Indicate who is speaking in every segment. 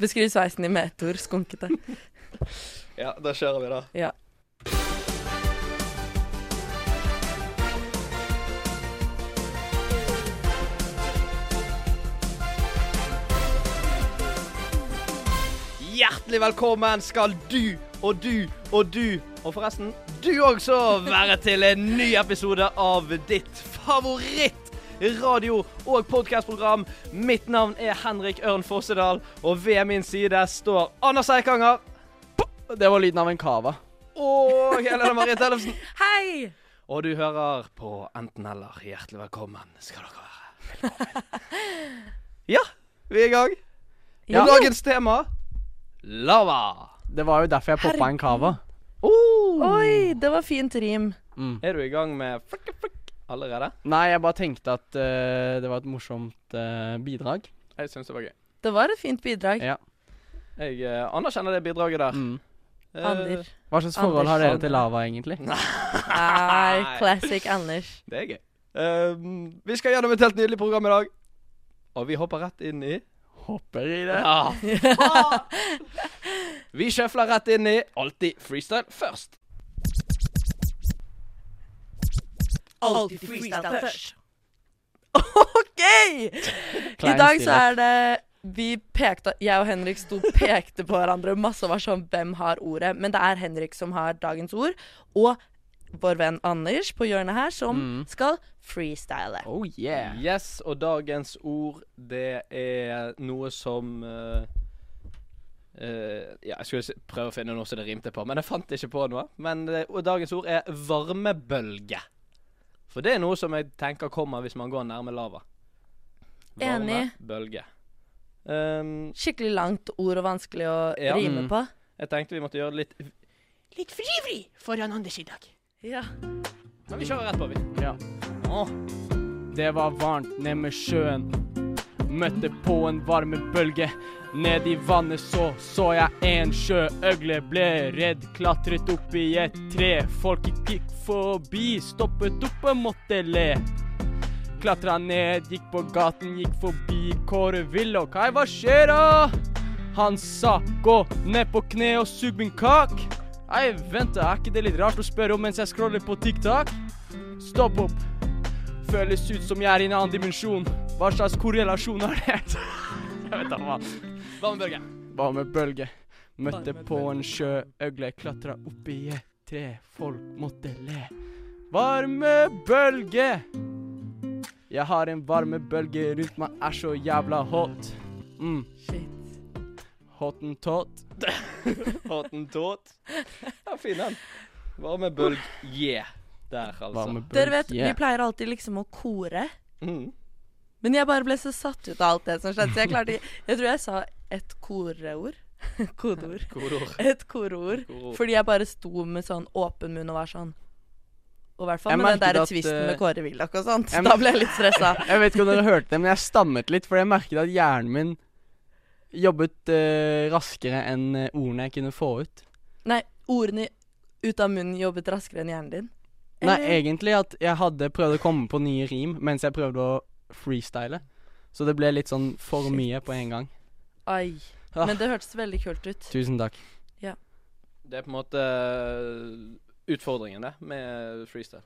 Speaker 1: Beskriv sveisen din med ett ord. Skunkete.
Speaker 2: Ja, da kjører vi, da.
Speaker 1: Ja.
Speaker 2: Hjertelig velkommen skal du og du og du, og forresten du også, være til en ny episode av ditt favoritt radio- og podkastprogram. Mitt navn er Henrik Ørn Fossedal, og ved min side står Anders Eikanger
Speaker 3: Det var lyden av en cava.
Speaker 2: og Helene Marie Tellefsen.
Speaker 1: Hei!
Speaker 2: Og du hører på Enten-eller. Hjertelig velkommen skal dere være. Velkommen. Ja, vi er i gang.
Speaker 1: Ja.
Speaker 2: Og dagens tema lava.
Speaker 3: Det var jo derfor jeg poppa en cava.
Speaker 2: Oh.
Speaker 1: Oi, det var fint rim.
Speaker 2: Er du i gang med frikke, frikke allerede?
Speaker 3: Nei, jeg bare tenkte at eh, det var et morsomt eh, bidrag.
Speaker 2: Jeg syns det var gøy.
Speaker 1: Det var et fint bidrag.
Speaker 3: Ja.
Speaker 2: Jeg eh, anerkjenner det bidraget der.
Speaker 3: Mm.
Speaker 2: Eh,
Speaker 1: Anders.
Speaker 3: Hva slags forhold
Speaker 1: Anders
Speaker 3: har dere
Speaker 1: Sand.
Speaker 3: til lava, egentlig?
Speaker 1: Er classic Anders.
Speaker 2: det er gøy. Eh, vi skal gjennom et helt nydelig program i dag. Og vi hopper rett inn i
Speaker 3: Hopper i
Speaker 2: Ja, Vi sjøfler rett inn i Alltid freestyle først.
Speaker 1: Alltid freestyle først. OK! I dag så er det vi pekte, Jeg og Henrik sto og pekte på hverandre masse og var sånn Hvem har ordet? Men det er Henrik som har dagens ord. Og vår venn Anders på hjørnet her som skal freestyle.
Speaker 3: Mm. Oh yeah.
Speaker 2: Yes, og dagens ord, det er noe som eh, eh, Ja, jeg skulle s- prøve å finne noe som det rimte på, men jeg fant ikke på noe. Men eh, og dagens ord er varmebølge. For det er noe som jeg tenker kommer hvis man går nærme lava.
Speaker 1: Enig.
Speaker 2: Varmebølge. Um,
Speaker 1: Skikkelig langt ord og vanskelig å
Speaker 2: Ja.
Speaker 1: rime
Speaker 3: Mm.
Speaker 1: på.
Speaker 2: jeg tenkte vi måtte gjøre det litt
Speaker 1: Litt frivri foran Anders i dag. Ja.
Speaker 2: Men vi kjører rett på, vi.
Speaker 3: Ja. Det var varmt ned med sjøen. Møtte på en varmebølge. Ned i vannet så så jeg en sjøøgle. Ble redd, klatret opp i et tre. Folket gikk forbi, stoppet opp og måtte le. Klatra ned, gikk på gaten, gikk forbi Kåre Willoch. Hei, hva skjer da? Han sa gå ned på kne og sug min kak. Hei, vent, da, er ikke det litt rart å spørre om mens jeg scroller på TikTok? Stopp opp. Føles ut som jeg er i en annen dimensjon. Hå slags korrelasjon er det? jeg vet da hva.
Speaker 2: Varmebølge.
Speaker 3: Hva med bølge? Møtte på en sjøøgle, klatra opp i et tre, folk måtte le. Varme bølge! Jeg har en varme bølge rundt meg, er så jævla hot. Mm,
Speaker 1: Shit.
Speaker 3: hottentott.
Speaker 2: Hatten tåt. Ja, fin den. Varmebølge. Der, altså.
Speaker 3: Varme
Speaker 1: Dere vet,
Speaker 3: bølge.
Speaker 1: vi pleier alltid liksom å kore.
Speaker 2: Mm.
Speaker 1: Men jeg bare ble så satt ut av alt det som skjedde, så jeg klarte ikke Jeg tror jeg sa et koreord. Kodeord.
Speaker 2: Kodeord.
Speaker 1: Et koreord.
Speaker 2: Kodeord.
Speaker 1: Fordi jeg bare sto med sånn åpen munn og var sånn Og i hvert fall
Speaker 3: Jeg
Speaker 1: med den
Speaker 3: merket
Speaker 1: der
Speaker 3: at,
Speaker 1: tvisten
Speaker 3: eh,
Speaker 1: med Kåre Willoch og sånt.
Speaker 3: jeg
Speaker 1: Da ble jeg litt stressa.
Speaker 3: Jeg vet ikke om dere hørte det, men jeg stammet litt, fordi jeg merket at hjernen min jobbet eh, raskere enn eh, ordene jeg kunne få ut.
Speaker 1: Nei, ordene ut av munnen jobbet raskere enn hjernen din.
Speaker 3: Nei,
Speaker 1: Eller-
Speaker 3: egentlig at jeg hadde prøvd å komme på nye rim mens jeg prøvde å freestyle. Så det ble litt sånn for
Speaker 1: Shit.
Speaker 3: mye på en gang.
Speaker 1: Ai.
Speaker 3: Ah.
Speaker 1: Men det hørtes veldig kult ut.
Speaker 3: Tusen takk.
Speaker 2: Det er på en måte eh, utfordringen det med freestyle.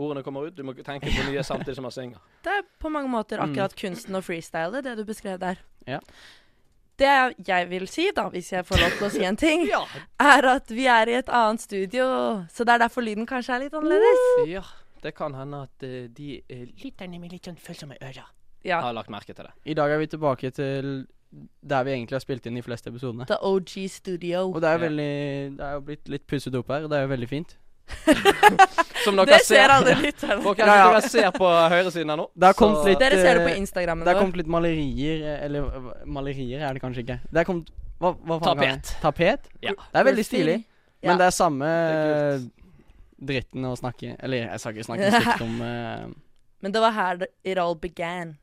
Speaker 2: Ordene kommer ut, du må tenke på nye samtidig som man synger.
Speaker 1: Det er på mange måter
Speaker 3: Mm.
Speaker 1: akkurat kunsten å freestyle, det du beskrev der.
Speaker 3: Ja.
Speaker 1: Det jeg vil si, da, hvis jeg får lov til å si en ting,
Speaker 2: Ja.
Speaker 1: er at vi er i et annet studio, så det er derfor lyden kanskje er litt annerledes.
Speaker 2: ja. Det kan hende at eh, de eh, lytterne med litt sånn følsomme ører
Speaker 1: Ja.
Speaker 2: har lagt merke til det.
Speaker 3: I dag er vi tilbake til der vi egentlig har spilt inn de fleste episodene.
Speaker 1: The OG Studio.
Speaker 3: Og det er jo
Speaker 2: Ja.
Speaker 3: veldig Det er jo blitt litt pusset opp her, og det er jo veldig fint.
Speaker 2: Som dere
Speaker 1: Det ser
Speaker 2: ser,
Speaker 1: alle lytterne.
Speaker 2: Folkens,
Speaker 3: Ja, ja.
Speaker 2: dere ser på høyresiden her nå.
Speaker 3: Det har kommet
Speaker 2: så-
Speaker 3: litt-
Speaker 1: Dere ser det på
Speaker 3: eh,
Speaker 1: Instagrammen
Speaker 3: Det er
Speaker 1: vår.
Speaker 3: kommet litt malerier eh, Eller eh, malerier er det kanskje ikke. Det er kommet hva, hva faen kaller jeg det? Tapet?
Speaker 2: Ja.
Speaker 3: Det er veldig stilig.
Speaker 1: Ja.
Speaker 3: Men det er samme
Speaker 2: Det er kult.
Speaker 3: dritten å snakke Eller jeg skal ikke snakke stygt om eh,
Speaker 1: Men det var her det- it all began.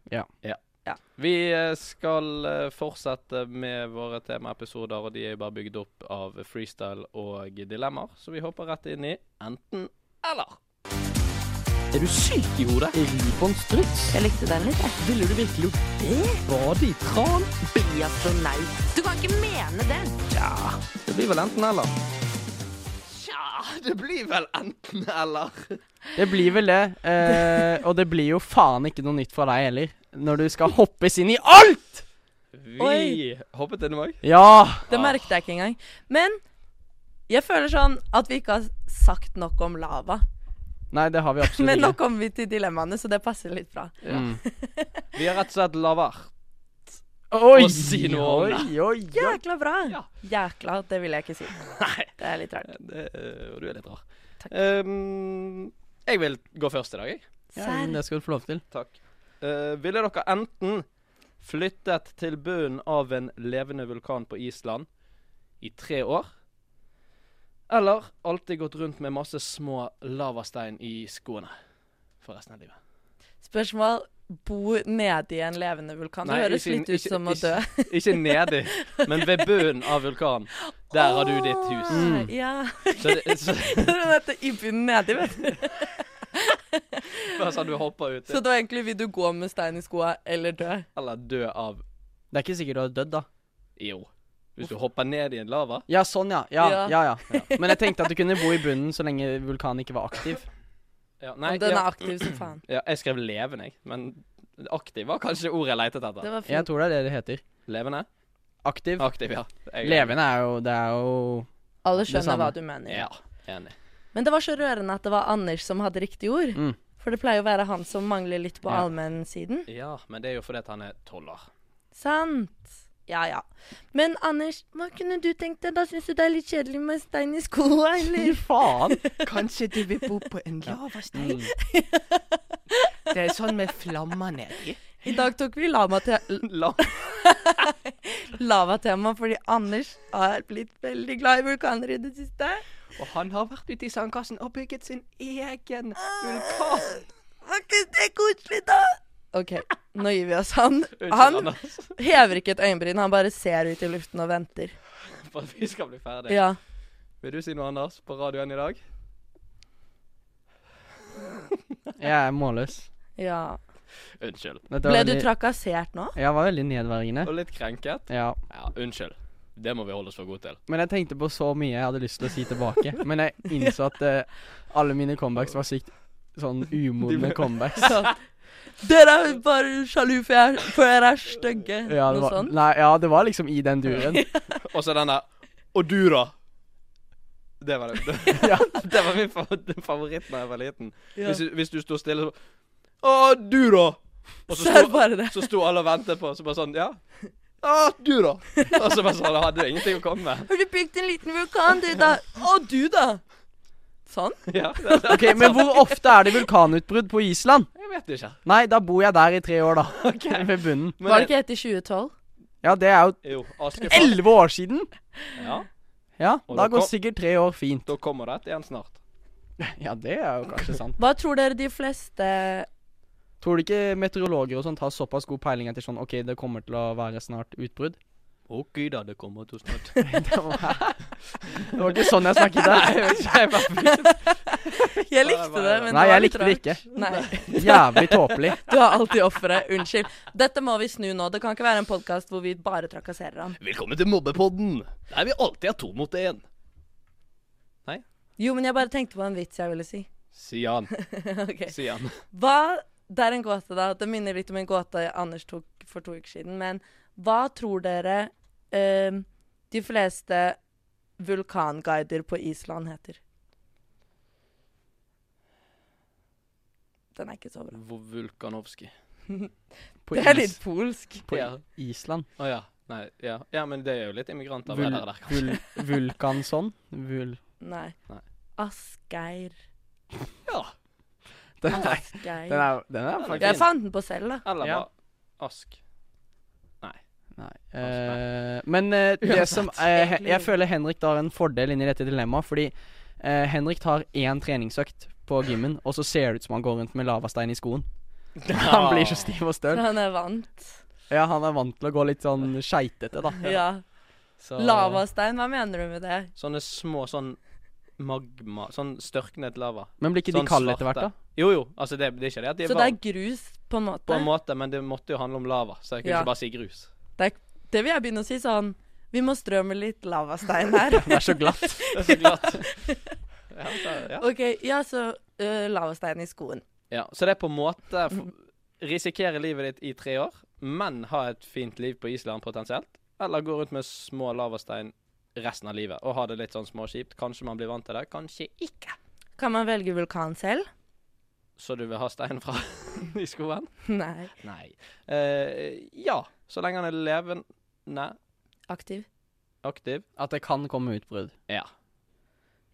Speaker 2: Vi eh, skal eh, fortsette med våre temaepisoder, og de er jo bare bygd opp av freestyle og dilemmaer, så vi hopper rett inn i enten eller. Er du syk i hodet?
Speaker 3: Ribon struts?
Speaker 1: Jeg likte den litt, jeg.
Speaker 3: Ville du virkelig gjort det? Bade i tran?
Speaker 1: Bli astronaut.
Speaker 4: altså, Du kan ikke
Speaker 2: blir vel enten eller. Tja, det blir vel enten eller.
Speaker 3: Det blir vel det. Eh, og det blir jo faen ikke noe nytt fra deg heller. Når du skal hoppes inn i alt!
Speaker 2: Vi
Speaker 1: Oi.
Speaker 2: hoppet innom òg.
Speaker 3: Ja!
Speaker 1: Det merket jeg ikke engang. Men jeg føler sånn at vi ikke har sagt nok om lava.
Speaker 3: Nei, det har vi absolutt
Speaker 1: Men nå
Speaker 3: ikke.
Speaker 1: kom vi til dilemmaene, så det passer litt bra.
Speaker 3: Mm.
Speaker 2: Vi har rett og slett lavert.
Speaker 3: Oi,
Speaker 2: Og si noe om det.
Speaker 3: oi, oi, oi.
Speaker 1: Jækla bra.
Speaker 2: Ja.
Speaker 1: Jækla, det vil jeg ikke si.
Speaker 2: Nei.
Speaker 1: Det er litt rart.
Speaker 2: Det, og du er litt rar.
Speaker 1: Takk.
Speaker 2: Ehm, jeg vil gå først i dag, jeg.
Speaker 3: Ja, men
Speaker 1: Serr.
Speaker 3: det skal du få lov til.
Speaker 2: Takk. Eh, ville dere enten flyttet til bunnen av en levende vulkan på Island i tre år? Eller alltid gått rundt med masse små lavastein i skoene for resten av livet?
Speaker 1: Spørsmål bo nedi en levende vulkan. Det
Speaker 2: Nei,
Speaker 1: høres
Speaker 2: ikke-
Speaker 1: litt ut
Speaker 2: ikke-
Speaker 1: som å
Speaker 2: ikke-
Speaker 1: dø.
Speaker 2: Ikke nedi, men ved bunnen av vulkanen. Der har du ditt hus.
Speaker 1: Åh, Ja.
Speaker 2: Så, det, så,
Speaker 1: Det var dette i bunnen nedi, vet du.
Speaker 2: bare sånn du hopper ut
Speaker 1: Så det var egentlig vil du gå med stein i skoa eller dø?
Speaker 2: eller dø av
Speaker 3: Det er ikke sikkert du har dødd, da.
Speaker 2: Jo. Hvis du hopper ned i en lava
Speaker 3: Ja, sånn, ja. Ja, ja.
Speaker 1: Ja.
Speaker 3: ja, Men jeg tenkte at du kunne bo i bunnen så lenge vulkanen ikke var aktiv.
Speaker 2: ja, Nei,
Speaker 1: Om den er
Speaker 2: ja,
Speaker 1: aktiv som faen.
Speaker 2: ja, jeg skrev levende, jeg. Men aktiv var kanskje ordet jeg letet etter.
Speaker 1: Det var
Speaker 3: Jeg
Speaker 1: fint.
Speaker 3: tror det er det det heter.
Speaker 2: Levende?
Speaker 3: Aktiv.
Speaker 2: Aktiv, ja. Jeg-
Speaker 3: Levende er jo Det er jo
Speaker 1: Alle
Speaker 3: det
Speaker 1: skjønner hva
Speaker 3: samme.
Speaker 1: du mener.
Speaker 2: Ja, enig.
Speaker 1: Men det var så rørende at det var Anders som hadde riktig ord.
Speaker 3: Mm.
Speaker 1: For det pleier å være han som mangler litt på
Speaker 3: Ja.
Speaker 1: allmennsiden.
Speaker 2: Ja, men det er jo fordi at han er tolver.
Speaker 1: Sant. Ja, ja. Men Anders, hva kunne du tenkt deg? Da syns du det er litt kjedelig med stein i skoa, eller?
Speaker 3: Faen!
Speaker 4: Kanskje du vil bo på en lavastein?
Speaker 3: Mm.
Speaker 4: Det er sånn med flammer nedi.
Speaker 1: I dag tok vi lama te
Speaker 2: La
Speaker 1: lavatema fordi Anders har blitt veldig glad i vulkaner i det siste.
Speaker 4: Og han har vært ute i sandkassen og bygget sin egen vulkan.
Speaker 1: Var ikke det koselig, da? OK, nå gir vi oss. Han,
Speaker 2: Unnskyld,
Speaker 1: han
Speaker 2: Anders,
Speaker 1: hever ikke et øyenbryn, han bare ser ut i luften og venter.
Speaker 2: for at vi skal bli ferdig.
Speaker 1: Ja.
Speaker 2: Vil du si noe, Anders, på radioen i dag?
Speaker 3: Jeg er målløs.
Speaker 1: ja.
Speaker 2: Unnskyld.
Speaker 3: Dette var
Speaker 1: Ble du
Speaker 3: veldig-
Speaker 1: trakassert nå?
Speaker 3: Jeg var veldig nedverdigende.
Speaker 2: Og litt krenket?
Speaker 3: Ja.
Speaker 2: Ja, unnskyld. Det må vi holde oss for gode til.
Speaker 3: Men jeg tenkte på så mye jeg hadde lyst til å si tilbake. Men jeg innså at eh, alle mine comebacks var sykt sånn umodne comebacks.
Speaker 1: Dere er bare sjalu for jeg, for dere er stygge.
Speaker 3: Ja det,
Speaker 1: Noe
Speaker 3: var,
Speaker 1: sånt.
Speaker 3: nei, ja, det var liksom i den duren.
Speaker 2: Og så den der Og du, da? Det var det. Det,
Speaker 3: Ja.
Speaker 2: det var min fa- favoritt da jeg var liten.
Speaker 1: Ja.
Speaker 2: Hvis, hvis du sto stille så Å, du, da? Og
Speaker 1: Så er det bare det.
Speaker 2: så sto alle og ventet på, så bare sånn Ja. Å, du, da? Og så bare sånn Hadde jo ingenting å komme med.
Speaker 1: Har du bygd en liten vulkan, du, da? Å, du, da? Sånn?
Speaker 2: Ja, det, det,
Speaker 3: Ok, Men hvor ofte er det vulkanutbrudd på Island?
Speaker 2: jeg vet ikke.
Speaker 3: Nei, da bor jeg der i tre år, da. Ved bunnen.
Speaker 2: Men
Speaker 1: var det ikke etter 2012?
Speaker 3: Ja, det er jo
Speaker 2: Jo, Askepott.
Speaker 3: elleve år siden!
Speaker 2: Ja,
Speaker 3: Ja,
Speaker 2: Og
Speaker 3: da
Speaker 2: da
Speaker 3: går
Speaker 2: kom-
Speaker 3: sikkert tre år fint.
Speaker 2: da kommer det et igjen snart.
Speaker 3: Ja, det er jo kanskje sant.
Speaker 1: Hva tror dere de fleste
Speaker 3: Tror du ikke meteorologer og sånt har såpass god peiling etter sånn OK, det kommer til å være snart utbrudd?
Speaker 2: Ok, da, det kommer til snart.
Speaker 3: Det var, det var ikke sånn jeg snakket der.
Speaker 1: Jeg likte det, men
Speaker 3: Nei,
Speaker 1: det var
Speaker 3: jeg
Speaker 1: litt
Speaker 3: likte det
Speaker 1: rart. Nei,
Speaker 3: Jævlig tåpelig.
Speaker 1: Du er alltid offeret. Unnskyld. Dette må vi snu nå. Det kan ikke være en podkast hvor vi bare trakasserer ham.
Speaker 2: Velkommen til Mobbepodden, der vi alltid er to mot én.
Speaker 1: Jo, men jeg bare tenkte på en vits jeg ville si.
Speaker 2: Sian.
Speaker 1: Ok.
Speaker 2: Sian.
Speaker 1: Hva Det er en gåte, da. Det minner litt om en gåte Anders tok for to uker siden. Men hva tror dere ehm, de fleste vulkanguider på Island heter? Den er ikke så bra.
Speaker 2: Vulkanovski.
Speaker 3: På,
Speaker 1: Det er
Speaker 3: is,
Speaker 1: litt polsk.
Speaker 3: på
Speaker 2: Ja.
Speaker 3: Island.
Speaker 2: Å ja. Nei, ja. ja, men det er jo litt immigranter
Speaker 3: Vul,
Speaker 2: der, kanskje.
Speaker 3: vul, vulkanson. Vul...
Speaker 1: Nei.
Speaker 2: Nei.
Speaker 1: Asgeir.
Speaker 2: Ja.
Speaker 3: Den er, den
Speaker 1: Asgeir.
Speaker 3: er, den er faktisk
Speaker 1: Jeg fant den på selv, da.
Speaker 2: Eller
Speaker 3: Ja.
Speaker 2: bare Ask.
Speaker 3: Nei. eh, men eh, det som eh, he- Jeg føler Henrik har en fordel inni dette dilemmaet, fordi eh, Henrik tar én treningsøkt på gymmen, og så ser det ut som han går rundt med lavastein i skoen. Han blir så stiv og
Speaker 1: For
Speaker 3: støl.
Speaker 1: han er vant.
Speaker 3: Ja, han er vant til å gå litt sånn skeitete, da.
Speaker 1: Ja.
Speaker 2: Så-
Speaker 1: Lavastein, hva mener du med det?
Speaker 2: Sånne små sånn magma Sånn størknet lava.
Speaker 3: Men blir ikke
Speaker 2: Sånn
Speaker 3: de kalde etter
Speaker 2: svarte.
Speaker 3: hvert, da?
Speaker 2: Jo jo, altså det, det er ikke det at de er
Speaker 1: Så det er
Speaker 2: varme
Speaker 1: grus, på en måte?
Speaker 2: på en måte, men det måtte jo handle om lava, så jeg kunne
Speaker 1: Ja.
Speaker 2: ikke bare si grus.
Speaker 1: Det vil jeg begynne å si sånn Vi må strø med litt lavastein her.
Speaker 3: Det er så glatt.
Speaker 2: Det er så glatt. Ja, da- ja.
Speaker 1: OK, ja, så øh, lavastein i skoen.
Speaker 2: ja. Så det er på en måte f- risikere livet ditt i tre år, men ha et fint liv på Island potensielt. Eller gå rundt med små lavastein resten av livet og ha det litt sånn småkjipt. Kanskje man blir vant til det, kanskje ikke.
Speaker 1: Kan man velge vulkan selv?
Speaker 2: Så du vil ha stein fra i skoen?
Speaker 1: Nei.
Speaker 2: Nei. Eh, ja, så lenge han er levende
Speaker 1: Aktiv?
Speaker 2: aktiv.
Speaker 3: At det kan komme utbrudd.
Speaker 2: Ja.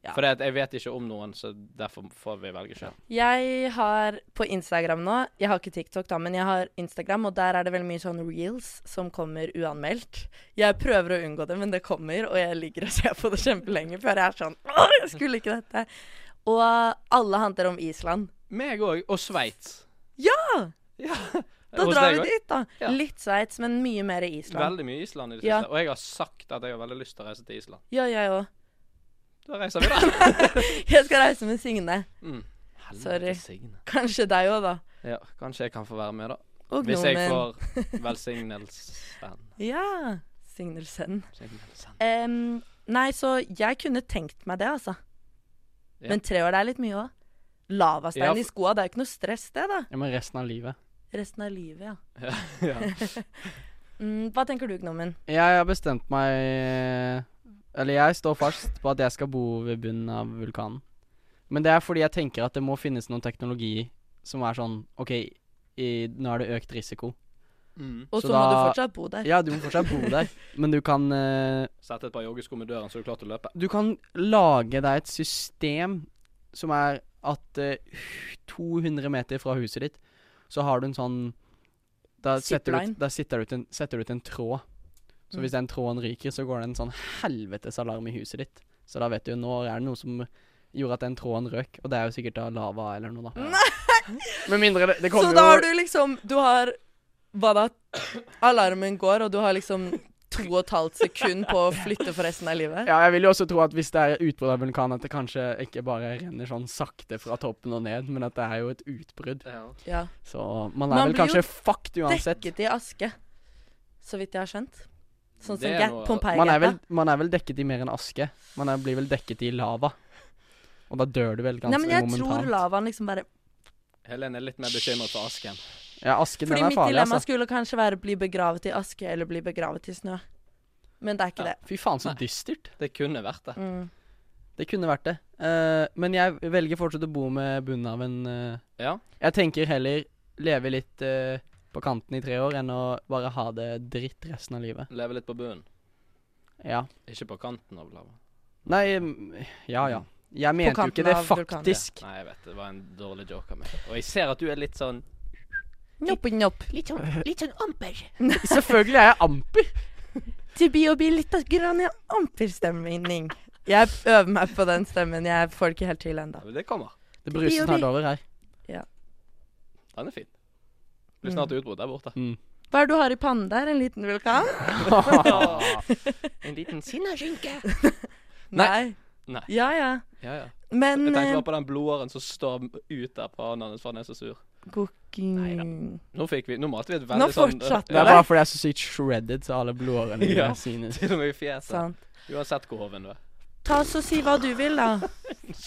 Speaker 1: Ja.
Speaker 2: For det at jeg vet ikke om noen, så derfor får vi velge sjøl.
Speaker 1: Jeg har på Instagram nå Jeg har ikke TikTok, da, men jeg har Instagram, og der er det veldig mye sånn reels som kommer uanmeldt. Jeg prøver å unngå det, men det kommer, og jeg ligger og ser på det kjempelenge før jeg er sånn Åh, jeg skulle ikke dette. Og alle handler om Island.
Speaker 2: Meg òg. Og Sveits.
Speaker 1: Ja!
Speaker 2: Ja.
Speaker 1: Da
Speaker 2: Hos
Speaker 1: drar
Speaker 2: deg
Speaker 1: vi
Speaker 2: også?
Speaker 1: dit, da.
Speaker 2: Ja.
Speaker 1: Litt Sveits, men mye mer i Island.
Speaker 2: Veldig mye Island i det siste.
Speaker 1: Ja.
Speaker 2: Og jeg har sagt at jeg har veldig lyst til å reise til Island.
Speaker 1: Ja, jeg òg.
Speaker 2: Da reiser vi, da.
Speaker 1: Jeg skal reise med Signe.
Speaker 2: Mm.
Speaker 1: Sorry.
Speaker 2: Signe.
Speaker 1: Kanskje deg òg, da.
Speaker 2: Ja, kanskje jeg kan få være med, da.
Speaker 1: Og
Speaker 2: Hvis jeg
Speaker 1: nordmenn.
Speaker 2: får velsignelsen.
Speaker 1: Ja. Signelsen.
Speaker 2: Signelsen.
Speaker 1: Em, nei, så jeg kunne tenkt meg det, altså.
Speaker 2: Ja.
Speaker 1: Men tre år det er litt mye òg. Lavastein
Speaker 2: Ja,
Speaker 1: i skoa, det er jo ikke noe stress, det, da.
Speaker 3: Ja, men resten av livet.
Speaker 1: Resten av livet, ja.
Speaker 2: Ja, ja.
Speaker 1: Mm, hva tenker du, Gnomen?
Speaker 3: Jeg har bestemt meg Eller jeg står fast på at jeg skal bo ved bunnen av vulkanen. Men det er fordi jeg tenker at det må finnes noen teknologi som er sånn OK, i, nå er det økt risiko.
Speaker 2: Mm.
Speaker 1: Og
Speaker 3: Så
Speaker 1: så må du
Speaker 3: da-
Speaker 1: fortsatt bo der.
Speaker 3: Ja, du må fortsatt bo der, men du kan eh,
Speaker 2: Sett et par joggesko med døren, så er du klar til å løpe.
Speaker 3: Du kan lage deg et system som er at eh, 200 meter fra huset ditt, så har du en sånn Da setter du,
Speaker 1: Zipline.
Speaker 3: ut- da sitter du ut en, setter du ut en tråd. Så
Speaker 1: Mm.
Speaker 3: hvis den tråden ryker, så går det en sånn helvetes alarm i huset ditt. Så da vet du jo nå er det noe som gjorde at den tråden røk, og det er jo sikkert da lava eller noe, da.
Speaker 1: Nei,
Speaker 3: Med mindre det, det
Speaker 1: så
Speaker 3: kommer
Speaker 1: da har
Speaker 3: jo
Speaker 1: du liksom Du har Hva da? Alarmen går, og du har liksom to og et halvt sekund på å flytte for resten av livet?
Speaker 3: ja, jeg vil jo også tro at hvis det er utbrudd av vulkan, at det kanskje ikke bare renner sånn sakte fra toppen og ned, men at det er jo et utbrudd.
Speaker 2: Ja.
Speaker 1: Ja.
Speaker 3: Så man er
Speaker 1: Man
Speaker 3: vel
Speaker 1: blir jo
Speaker 3: kanskje fucked uansett.
Speaker 1: Dekket i aske, så vidt jeg har skjønt. Sånn
Speaker 2: Det
Speaker 1: som
Speaker 2: er
Speaker 1: Ga-
Speaker 2: noe-
Speaker 3: Man er, vel,
Speaker 1: Pompeii-gata.
Speaker 3: man er vel dekket i mer enn aske. Man er, blir vel dekket i lava. Og da dør du vel ganske
Speaker 1: Nei, men jeg tror
Speaker 3: momentant.
Speaker 1: lavaen liksom bare
Speaker 2: Helene er litt mer bekymret for asken.
Speaker 3: ja, asken
Speaker 1: Fordi
Speaker 3: den er
Speaker 1: mitt
Speaker 3: farlig,
Speaker 1: dilemma
Speaker 3: altså.
Speaker 1: skulle kanskje være bli begravet i aske eller bli begravet i snø. Men det er ikke
Speaker 2: Ja.
Speaker 1: det.
Speaker 3: Fy faen, så
Speaker 2: Nei.
Speaker 3: dystert.
Speaker 2: Det kunne vært det.
Speaker 1: Mm.
Speaker 3: Det kunne vært det. Eh, men jeg velger fortsatt å bo med bunnen av en eh,
Speaker 2: Ja.
Speaker 3: Jeg tenker heller leve litt eh, på kanten i tre år enn å bare ha det dritt resten av livet.
Speaker 2: Leve litt på bunnen.
Speaker 3: Ja.
Speaker 2: Ikke på kanten av lava.
Speaker 3: Nei mm, Ja ja. Jeg mente jo
Speaker 1: kanten
Speaker 3: ikke det
Speaker 1: av vulkanen, ja.
Speaker 3: faktisk.
Speaker 2: Nei, jeg vet det var en dårlig joke av meg. Og jeg ser at du er litt sånn
Speaker 1: Njopp, njopp.
Speaker 4: Litt sånn, litt sånn amper.
Speaker 3: Selvfølgelig er jeg amper.
Speaker 1: Det blir å bli litt av grann amperstemning. Jeg øver meg på den stemmen. Jeg får det ikke helt til ennå.
Speaker 2: ja, men Det kommer.
Speaker 3: Det bruser snart over her.
Speaker 2: Den er fin. Blir snart utbrudd der borte.
Speaker 3: Mm.
Speaker 1: Hva er det du har i pannen der? En liten vulkan?
Speaker 2: en liten
Speaker 4: Sinnarynke.
Speaker 1: Nei.
Speaker 2: Nei.
Speaker 1: Ja, ja.
Speaker 2: Ja, ja.
Speaker 1: Men
Speaker 2: Jeg tenkte
Speaker 1: eh,
Speaker 2: bare på den blodåren som står ut der på hånden hans, for han er så sur.
Speaker 1: Goking
Speaker 2: Nå fikk vi Nå måtte vi et veldig
Speaker 1: Nå
Speaker 2: sånn
Speaker 1: fortsatte
Speaker 3: Det er
Speaker 1: det.
Speaker 3: bare fordi jeg er så sykt shredded, så alle blodårene mine
Speaker 2: Ja.
Speaker 3: er sine.
Speaker 2: Til og med i
Speaker 3: Sånn.
Speaker 2: fjeset.
Speaker 1: Sant.
Speaker 2: Uansett hvor hoven du er.
Speaker 1: Ta oss og si hva du vil, da.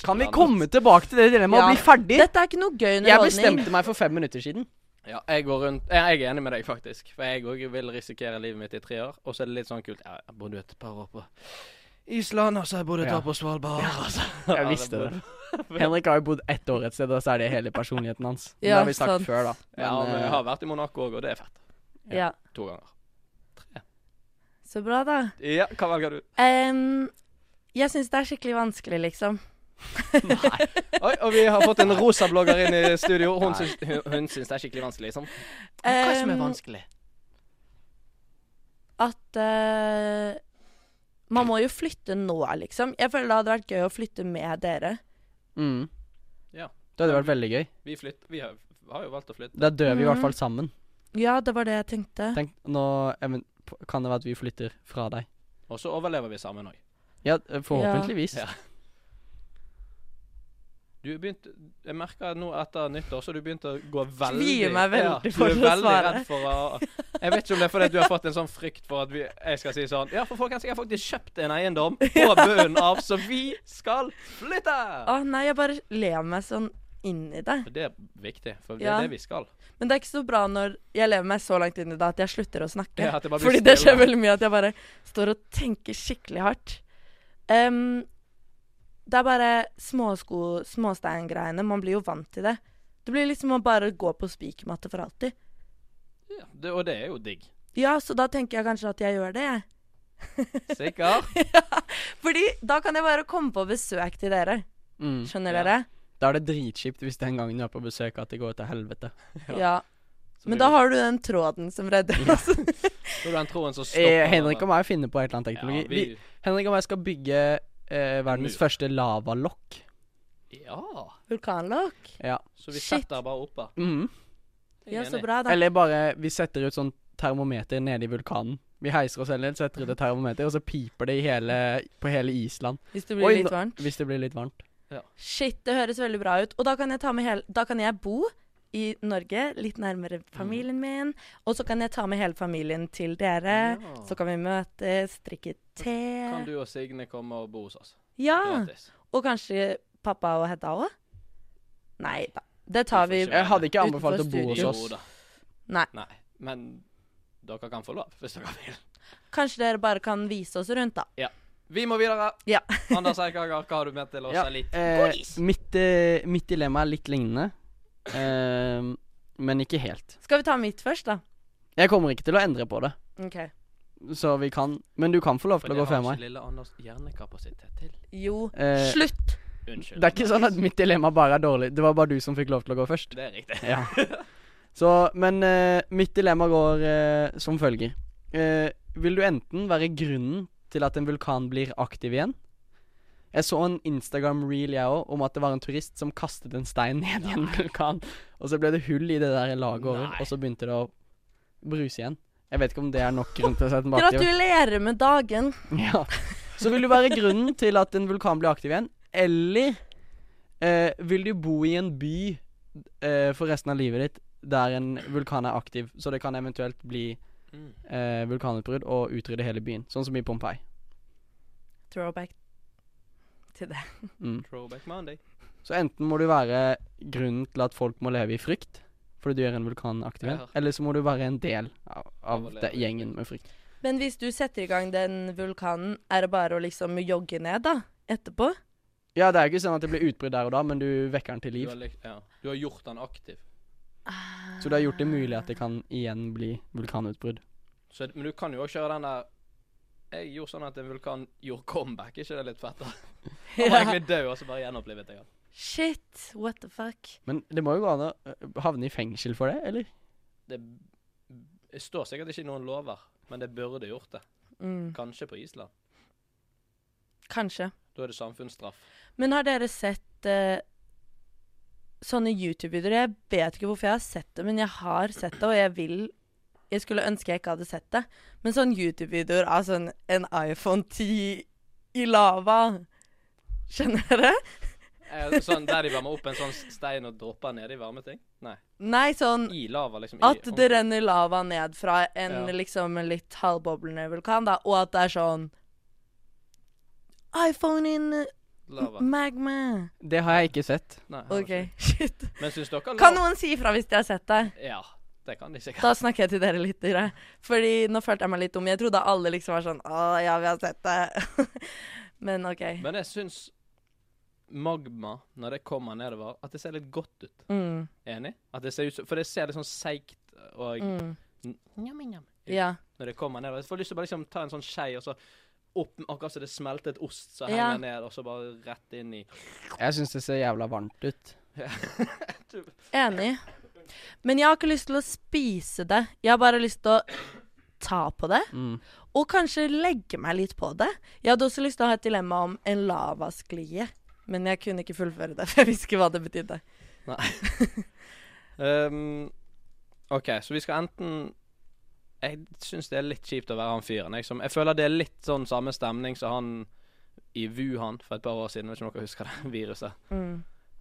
Speaker 3: Kan vi komme tilbake til det dilemmaet og
Speaker 1: Ja.
Speaker 3: bli ferdig?
Speaker 1: Dette er ikke noe gøy
Speaker 3: Jeg
Speaker 1: underholdning.
Speaker 3: bestemte meg for fem minutter siden.
Speaker 2: Ja, jeg går rundt eh, Jeg er enig med deg, faktisk. For jeg òg vil risikere livet mitt i tre år. Og så er det litt sånn kult Ja, jeg bodde jo et par år på Island, og så jeg bodde et
Speaker 3: Ja.
Speaker 2: år på Svalbard. altså.
Speaker 3: Jeg visste det. Henrik har jo bodd ett år et sted, og så er det hele personligheten hans. Det
Speaker 1: Ja,
Speaker 3: har vi sagt
Speaker 1: sant.
Speaker 3: før, da.
Speaker 2: Ja, men jeg
Speaker 3: eh,
Speaker 2: har vært i Monaco òg, og det er fett.
Speaker 1: Ja.
Speaker 2: To ganger.
Speaker 1: Så bra, da.
Speaker 2: Ja, hva velger du?
Speaker 1: Em, jeg syns det er skikkelig vanskelig, liksom.
Speaker 2: Oi, og vi har fått en rosa blogger inn i studio. Hun
Speaker 3: Nei.
Speaker 2: syns, hun, hun syns det er skikkelig vanskelig, liksom.
Speaker 1: Em,
Speaker 2: vanskelig?
Speaker 1: at eh, man må jo flytte nå, liksom. Jeg føler det hadde vært gøy å flytte med dere.
Speaker 3: mm.
Speaker 2: Ja.
Speaker 3: Det hadde vært veldig gøy.
Speaker 2: Vi flytter Vi har, har jo valgt å flytte.
Speaker 3: Da dør vi i
Speaker 1: Mhm.
Speaker 3: hvert fall sammen.
Speaker 1: Ja, det var det jeg tenkte.
Speaker 3: Tenk, nå even, p- kan det være at vi flytter fra deg.
Speaker 2: Og så overlever vi sammen òg.
Speaker 3: Ja, eh, forhåpentligvis.
Speaker 2: Ja. Du har begynt, Jeg merker nå etter nyttår, så har du begynt å gå veldig
Speaker 1: Tvier meg veldig
Speaker 2: ja,
Speaker 1: for
Speaker 2: du er
Speaker 1: å
Speaker 2: veldig
Speaker 1: svare.
Speaker 2: Redd for å, jeg vet ikke om det er fordi at du har fått en sånn frykt for at vi, jeg skal si sånn Ja, for folkens, jeg har faktisk kjøpt en eiendom på bunnen av, så vi skal flytte!
Speaker 1: Å nei, jeg bare lever meg sånn inn i det.
Speaker 2: Og Det er viktig, for det
Speaker 1: Ja.
Speaker 2: er det vi skal.
Speaker 1: Men det er ikke så bra når jeg lever meg så langt inn i det at jeg slutter å snakke.
Speaker 2: Ja, at det bare blir
Speaker 1: Fordi det skjer
Speaker 2: stille.
Speaker 1: veldig mye at jeg bare står og tenker skikkelig hardt. Em, det er bare småsko, småsteingreiene. Man blir jo vant til det. Det blir liksom å bare gå på spikermatte for alltid.
Speaker 2: Ja, det, og det er jo digg.
Speaker 1: Ja, så da tenker jeg kanskje at jeg gjør det, jeg.
Speaker 2: Sikker?
Speaker 1: Fordi da kan jeg bare komme på besøk til dere.
Speaker 3: Mm.
Speaker 1: Skjønner
Speaker 2: Ja.
Speaker 1: dere?
Speaker 3: Da er det dritkjipt hvis den gangen du er på besøk, at det går til helvete.
Speaker 1: Ja.
Speaker 2: Så
Speaker 1: Men
Speaker 2: blir
Speaker 1: da
Speaker 2: det-
Speaker 1: har du den tråden som redder oss.
Speaker 2: så er det den troen som stopper.
Speaker 3: Eh, Henrik og meg finner på et eller annet teknologi.
Speaker 2: ja,
Speaker 3: vi...
Speaker 2: vi,
Speaker 3: Henrik og meg skal bygge eh, verdens
Speaker 2: Mur.
Speaker 3: første lavalokk.
Speaker 2: ja,
Speaker 1: Vulkanlokk.
Speaker 3: Ja.
Speaker 2: så vi
Speaker 1: Shit.
Speaker 2: setter bare oppe.
Speaker 3: Mhm.
Speaker 2: Jeg er
Speaker 1: Ja, så
Speaker 2: enig.
Speaker 1: bra, da.
Speaker 3: Eller bare vi setter ut sånn termometer nede i vulkanen. Vi heiser oss selv ned, setter ut et termometer, og så piper det i hele, på hele Island.
Speaker 1: Hvis det blir
Speaker 3: Oi,
Speaker 1: litt
Speaker 3: nå-
Speaker 1: varmt.
Speaker 3: Hvis det blir litt varmt.
Speaker 1: Shit, det høres veldig bra ut. Og da kan jeg, ta med hele, da kan jeg bo i Norge, litt nærmere
Speaker 2: Mm.
Speaker 1: familien min. Og så kan jeg ta med hele familien til dere.
Speaker 2: Ja.
Speaker 1: Så kan vi møtes, drikke
Speaker 2: Kan
Speaker 1: te.
Speaker 2: du og Signe komme og bo hos oss?
Speaker 1: Ja.
Speaker 2: Gratis.
Speaker 1: Og kanskje pappa og Hedda òg? Nei da. Det tar vi
Speaker 2: Vi får ikke
Speaker 3: Jeg hadde ikke anbefalt å
Speaker 1: Utenfor
Speaker 3: bo hos
Speaker 1: studio.
Speaker 3: oss.
Speaker 2: Jo da.
Speaker 1: Nei.
Speaker 2: Men dere kan få lov, hvis dere vil.
Speaker 1: Kanskje dere bare kan vise oss rundt, da.
Speaker 2: Vi må videre.
Speaker 1: Ja.
Speaker 2: Anders Eikanger, hva har du med til oss?
Speaker 3: Ja,
Speaker 2: Ja. Litt?
Speaker 3: Eh, mitt, eh, mitt dilemma er litt lignende, eh, men ikke helt.
Speaker 1: Skal vi ta mitt først, da?
Speaker 3: Jeg kommer ikke til å endre på det,
Speaker 1: OK.
Speaker 3: så vi kan Men du kan få lov
Speaker 2: For
Speaker 3: til
Speaker 2: det
Speaker 3: å gå
Speaker 2: har
Speaker 3: før meg.
Speaker 2: ikke lille Anders hjernekapasitet til.
Speaker 1: Jo.
Speaker 3: Eh,
Speaker 1: Slutt!
Speaker 2: Unnskyld.
Speaker 3: Det er ikke sånn at mitt dilemma bare er dårlig. Det var bare du som fikk lov til å gå først.
Speaker 2: Det er riktig.
Speaker 3: Ja. Så, men eh, mitt dilemma går eh, som følger. Eh, vil du enten være grunnen til at en vulkan blir aktiv igjen? Jeg så en Instagram-reel jeg også, om at det var en turist som kastet en stein ned i en vulkan. Og så ble det hull i det der laget over,
Speaker 2: Nei.
Speaker 3: og så begynte det å bruse igjen. Jeg vet ikke om det er nok grunn til å sette den bak til.
Speaker 1: Gratulerer med dagen.
Speaker 3: Ja. Så vil du være grunnen til at en vulkan blir aktiv igjen, eller eh, vil du bo i en by eh, for resten av livet ditt der en vulkan er aktiv, så det kan eventuelt bli
Speaker 2: Mm.
Speaker 3: eh, vulkanutbrudd og utrydde hele byen, sånn som i Pompeii.
Speaker 1: Throwback til det.
Speaker 3: Mm.
Speaker 2: Throwback Monday.
Speaker 3: Så enten må du være grunnen til at folk må leve i frykt fordi du gjør en vulkan aktiv igjen,
Speaker 2: Ja.
Speaker 3: eller så må du være en del av, av
Speaker 2: Av å leve
Speaker 3: det,
Speaker 2: i
Speaker 3: gjengen med frykt.
Speaker 1: Men hvis du setter i gang den vulkanen, er det bare å liksom jogge ned, da? Etterpå?
Speaker 3: Ja, det er jo ikke sånn at det blir utbrudd der og da, men du vekker den til
Speaker 2: Du
Speaker 3: liv.
Speaker 2: har, lik- ja. du har gjort den aktiv.
Speaker 3: Så du har gjort det mulig at det kan igjen bli vulkanutbrudd.
Speaker 2: Så, men du kan jo også kjøre den der Jeg gjorde sånn at en vulkan gjorde comeback. ikke det litt fett? da? Han var
Speaker 1: Ja.
Speaker 2: egentlig død, og så bare gjenopplivet det igjen.
Speaker 1: Shit, what the fuck?
Speaker 3: Men det må jo gå an å øh, havne i fengsel for det, eller?
Speaker 2: Det b- står sikkert ikke i noen lover, men det burde gjort det.
Speaker 1: Mm,
Speaker 2: Kanskje på Island.
Speaker 1: kanskje.
Speaker 2: Da er det samfunnsstraff.
Speaker 1: Men har dere sett eh, sånne YouTube-videoer? Jeg vet ikke hvorfor jeg har sett det, men jeg har sett det, og jeg vil Jeg skulle ønske jeg ikke hadde sett det, men sånne YouTube-videoer av sånn en iPhone 10 i lava Skjønner dere?
Speaker 2: Eh, Sånn Der de varmer opp en sånn stein og dropper den nedi varme ting? Nei.
Speaker 1: Nei, sånn
Speaker 2: I lava, liksom. I
Speaker 1: At det
Speaker 2: ordentlig.
Speaker 1: renner lava ned fra en
Speaker 2: Ja.
Speaker 1: liksom litt halvboblende vulkan, da, og at det er sånn iPhone in
Speaker 2: Lava.
Speaker 1: magma.
Speaker 3: Det har jeg ikke sett.
Speaker 2: Nei, han var
Speaker 1: OK,
Speaker 2: ikke.
Speaker 1: shit.
Speaker 2: Men syns dere lava
Speaker 1: Kan noen si ifra hvis de har sett det?
Speaker 2: Ja, det kan de sikkert.
Speaker 1: Da snakker jeg til dere litt, dere. Fordi nå følte jeg meg litt dum. Jeg trodde alle liksom var sånn Å, ja, vi har sett det. Men OK.
Speaker 2: Men jeg syns magma, når det kommer nedover, at det ser litt godt ut.
Speaker 1: Mm,
Speaker 2: Enig? At det ser ut som For det ser litt sånn seigt og
Speaker 1: mm,
Speaker 2: Njam, njam.
Speaker 1: ja.
Speaker 2: Når det kommer nedover. Jeg får lyst til å bare liksom ta en sånn skei, og så opp Akkurat som det smeltet ost som
Speaker 1: Ja.
Speaker 2: henger ned, og så bare rett inn i
Speaker 3: Jeg syns det ser jævla varmt ut.
Speaker 1: Enig. Men jeg har ikke lyst til å spise det. Jeg har bare lyst til å ta på det.
Speaker 3: Mm.
Speaker 1: Og kanskje legge meg litt på det. Jeg hadde også lyst til å ha et dilemma om en lavasklie. Men jeg kunne ikke fullføre det, for jeg visste ikke hva det betydde.
Speaker 2: Um, OK, så vi skal enten Jeg syns det er litt kjipt å være han fyren. Jeg, som, jeg føler det er litt sånn samme stemning som han i Wuhan for et par år siden, hvis ikke om dere husker det viruset.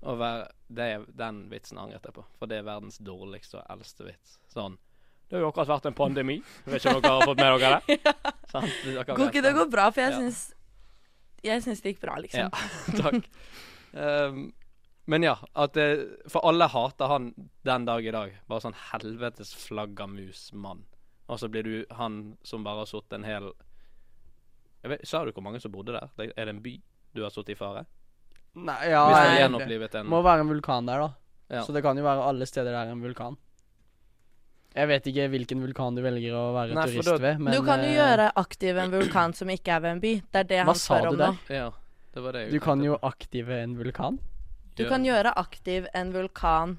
Speaker 2: Og vær, det er den vitsen angret jeg på, for det er verdens dårligste og eldste vits. Sånn. Det har jo akkurat vært en pandemi. Vet ikke om dere har fått med dere det? Sant? Dere
Speaker 1: Går
Speaker 2: vet
Speaker 1: ikke det
Speaker 2: den.
Speaker 1: går bra, for jeg
Speaker 2: Ja.
Speaker 1: syns Jeg syns det gikk bra, liksom.
Speaker 2: Ja, takk. Ehm, men ja, at det, for alle hater han den dag i dag. Bare sånn helvetes flaggermusmann. Og så blir du han som bare har sittet en hel jeg vet, Sa du hvor mange som bodde der? Det- Er det en by du har sittet i fare?
Speaker 3: Nei, ja
Speaker 2: Hvis du
Speaker 1: Nei,
Speaker 2: har
Speaker 1: det-
Speaker 2: gjenopplivet en
Speaker 3: Må være en vulkan der, da.
Speaker 2: Ja.
Speaker 3: Så det kan jo være alle steder der er en vulkan. Jeg vet ikke hvilken vulkan du velger å være
Speaker 2: Nei, for
Speaker 3: turist
Speaker 2: da-
Speaker 3: ved, men
Speaker 1: du kan jo
Speaker 3: eh,
Speaker 1: gjøre aktiv en vulkan som ikke er ved en by. Det er det
Speaker 3: Hva
Speaker 1: han
Speaker 3: sa
Speaker 1: spør
Speaker 3: du
Speaker 1: om nå.
Speaker 3: der?
Speaker 2: Ja, det var det jeg
Speaker 3: Du kan
Speaker 2: tenkte
Speaker 3: jo
Speaker 2: på.
Speaker 3: aktive en vulkan.
Speaker 1: Du
Speaker 2: Gjør-
Speaker 1: kan gjøre aktiv en vulkan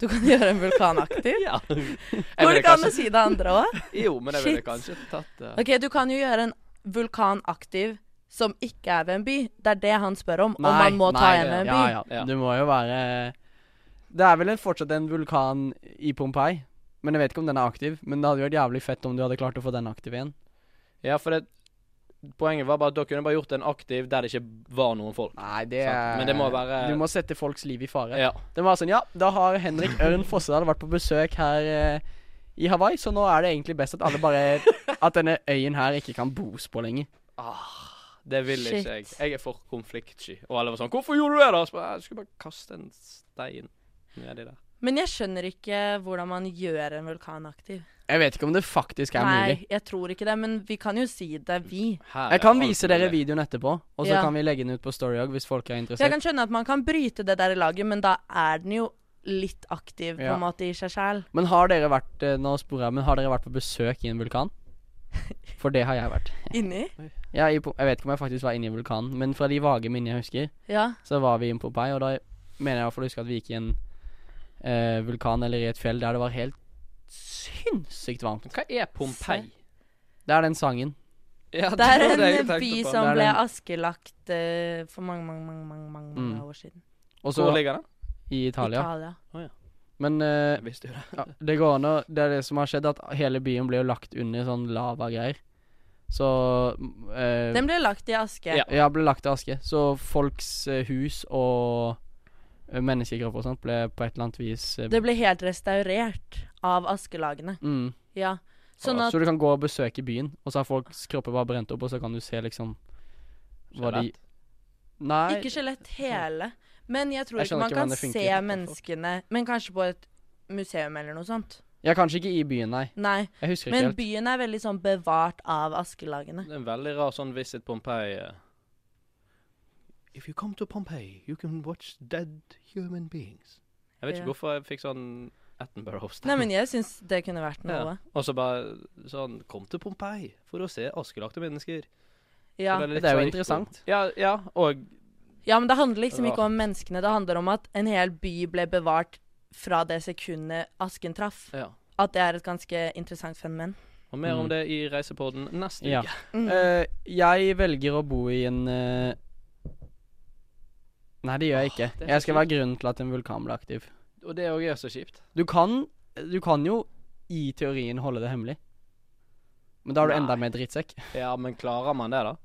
Speaker 1: Du kan gjøre en vulkan aktiv?
Speaker 2: Ja.
Speaker 1: Går
Speaker 2: Jeg ville
Speaker 1: det ikke an å
Speaker 2: kanskje-
Speaker 1: si det andre òg?
Speaker 2: Jo, men jeg ville
Speaker 1: Shit.
Speaker 2: kanskje tatt det.
Speaker 1: OK, du kan jo gjøre en vulkan aktiv som ikke er ved en by. Det er det han spør om. om man må ta
Speaker 3: nei,
Speaker 1: igjen en by.
Speaker 3: ja, ja,
Speaker 2: Ja.
Speaker 3: Du må jo være Det er vel en, fortsatt en vulkan i Pompeii, men jeg vet ikke om den er aktiv. Men det hadde jo vært jævlig fett om du hadde klart å få den aktiv igjen.
Speaker 2: Ja, for det, poenget var bare at dere kunne bare gjort en aktiv der det ikke var noen folk.
Speaker 3: Nei, det
Speaker 2: Sant, men det må være-
Speaker 3: Du må sette folks liv i fare.
Speaker 2: Ja.
Speaker 3: Det var sånn, ja, da har Henrik Ørn Fossedal vært på besøk her eh, i Hawaii, så nå er det egentlig best at alle bare At denne øyen her ikke kan bos på lenger.
Speaker 2: Det vil
Speaker 1: Shit.
Speaker 2: ikke jeg. Jeg er for konfliktsky. Og alle var sånn 'Hvorfor gjorde du det?' da? Så bare, jeg skulle bare kaste en stein nedi der.
Speaker 1: Men jeg skjønner ikke hvordan man gjør en vulkan aktiv.
Speaker 3: Jeg vet ikke om det faktisk er mulig.
Speaker 1: Nei, jeg tror ikke det, men vi kan jo si det, vi.
Speaker 2: Her er
Speaker 3: Jeg kan
Speaker 2: alt
Speaker 3: vise dere
Speaker 2: mulig.
Speaker 3: videoen etterpå, og så
Speaker 1: Ja.
Speaker 3: kan vi legge den ut på Story òg, hvis folk er
Speaker 1: Så jeg
Speaker 3: interessert.
Speaker 1: kan skjønne at man kan bryte det der i laget, men da er den jo litt aktiv på
Speaker 3: Ja.
Speaker 1: en måte i seg sjæl.
Speaker 3: Men har dere vært eh, Nå sporer jeg, men har dere vært på besøk i en vulkan? For det har jeg vært.
Speaker 1: Inni?
Speaker 3: Ja, i, Po- jeg vet ikke om jeg faktisk var inne i vulkanen, men fra de vage minnene jeg husker,
Speaker 1: Ja.
Speaker 3: så var vi i Pompeii, og da mener jeg i hvert fall å huske at vi gikk i en eh, vulkan eller i et fjell der det var helt sinnssykt varmt.
Speaker 2: Men Hva er Pompeii?
Speaker 3: Det er den sangen.
Speaker 2: Ja,
Speaker 1: Det er
Speaker 2: var det jeg
Speaker 1: en
Speaker 2: tenkte
Speaker 1: by
Speaker 2: på.
Speaker 1: som
Speaker 3: Det er
Speaker 1: ble
Speaker 3: den.
Speaker 1: askelagt eh, for mange, mange, mange mange, mange, mange
Speaker 3: Mm.
Speaker 1: år siden.
Speaker 3: Og så
Speaker 2: Hvor ligger den?
Speaker 3: i Italia.
Speaker 1: Italia.
Speaker 3: Men eh,
Speaker 2: Jeg visste jo det.
Speaker 3: ja, det går an å Det er det som har skjedd, at hele byen ble jo lagt under sånn lavagreier. Så eh,
Speaker 1: Den ble lagt i aske.
Speaker 2: Ja.
Speaker 3: Ja, ble lagt i aske. Så folks eh, hus og eh, menneskekropper og sånt ble på et eller annet vis eh,
Speaker 1: Det ble helt restaurert av askelagene.
Speaker 3: mm.
Speaker 1: Ja. Sånn at
Speaker 3: Så du kan gå og besøke byen, og så har folks kropper bare brent opp, og så kan du se liksom hva de
Speaker 2: Skjelett.
Speaker 3: Nei,
Speaker 1: Ikke skjelett hele, men jeg tror
Speaker 3: Jeg
Speaker 1: ikke
Speaker 3: skjønner
Speaker 1: man
Speaker 3: ikke
Speaker 1: kan
Speaker 3: hvordan det
Speaker 1: se
Speaker 3: funker. altså.
Speaker 1: menneskene Men kanskje på et museum eller noe sånt.
Speaker 3: ja, kanskje ikke i byen, nei.
Speaker 1: Nei.
Speaker 3: Jeg husker ikke
Speaker 1: Men
Speaker 3: helt.
Speaker 1: byen er veldig sånn bevart av askelagene.
Speaker 2: Det er en veldig rar sånn Visit Pompeii eh. If you come to Pompeii, you can watch dead human beings. Jeg vet ikke
Speaker 1: Ja.
Speaker 2: hvorfor jeg fikk sånn Attenborough-stemme.
Speaker 1: Nei, men jeg syns det kunne vært noe.
Speaker 2: Ja. Og så bare sånn Kom til Pompeii for å se askelagte mennesker.
Speaker 1: Ja.
Speaker 2: Så litt
Speaker 3: Det er jo
Speaker 2: sånn-
Speaker 3: interessant.
Speaker 2: Ja, ja, og
Speaker 1: ja, men det handler liksom
Speaker 2: Rart.
Speaker 1: ikke om menneskene. Det handler om at en hel by ble bevart fra det sekundet asken traff.
Speaker 2: ja.
Speaker 1: At det er et ganske interessant fenomen.
Speaker 2: Og mer om
Speaker 3: Mm.
Speaker 2: det i Reisepodden neste
Speaker 3: Ja.
Speaker 2: uke.
Speaker 1: Mm.
Speaker 3: Eh, jeg velger å bo i en eh, Nei, det gjør jeg ikke.
Speaker 2: det er så
Speaker 3: Jeg skal være grunnen til at en vulkan ble aktiv.
Speaker 2: Og det òg er så kjipt.
Speaker 3: Du kan, du kan jo i teorien holde det hemmelig. Men da er du enda mer drittsekk.
Speaker 2: Ja, men klarer man det, da?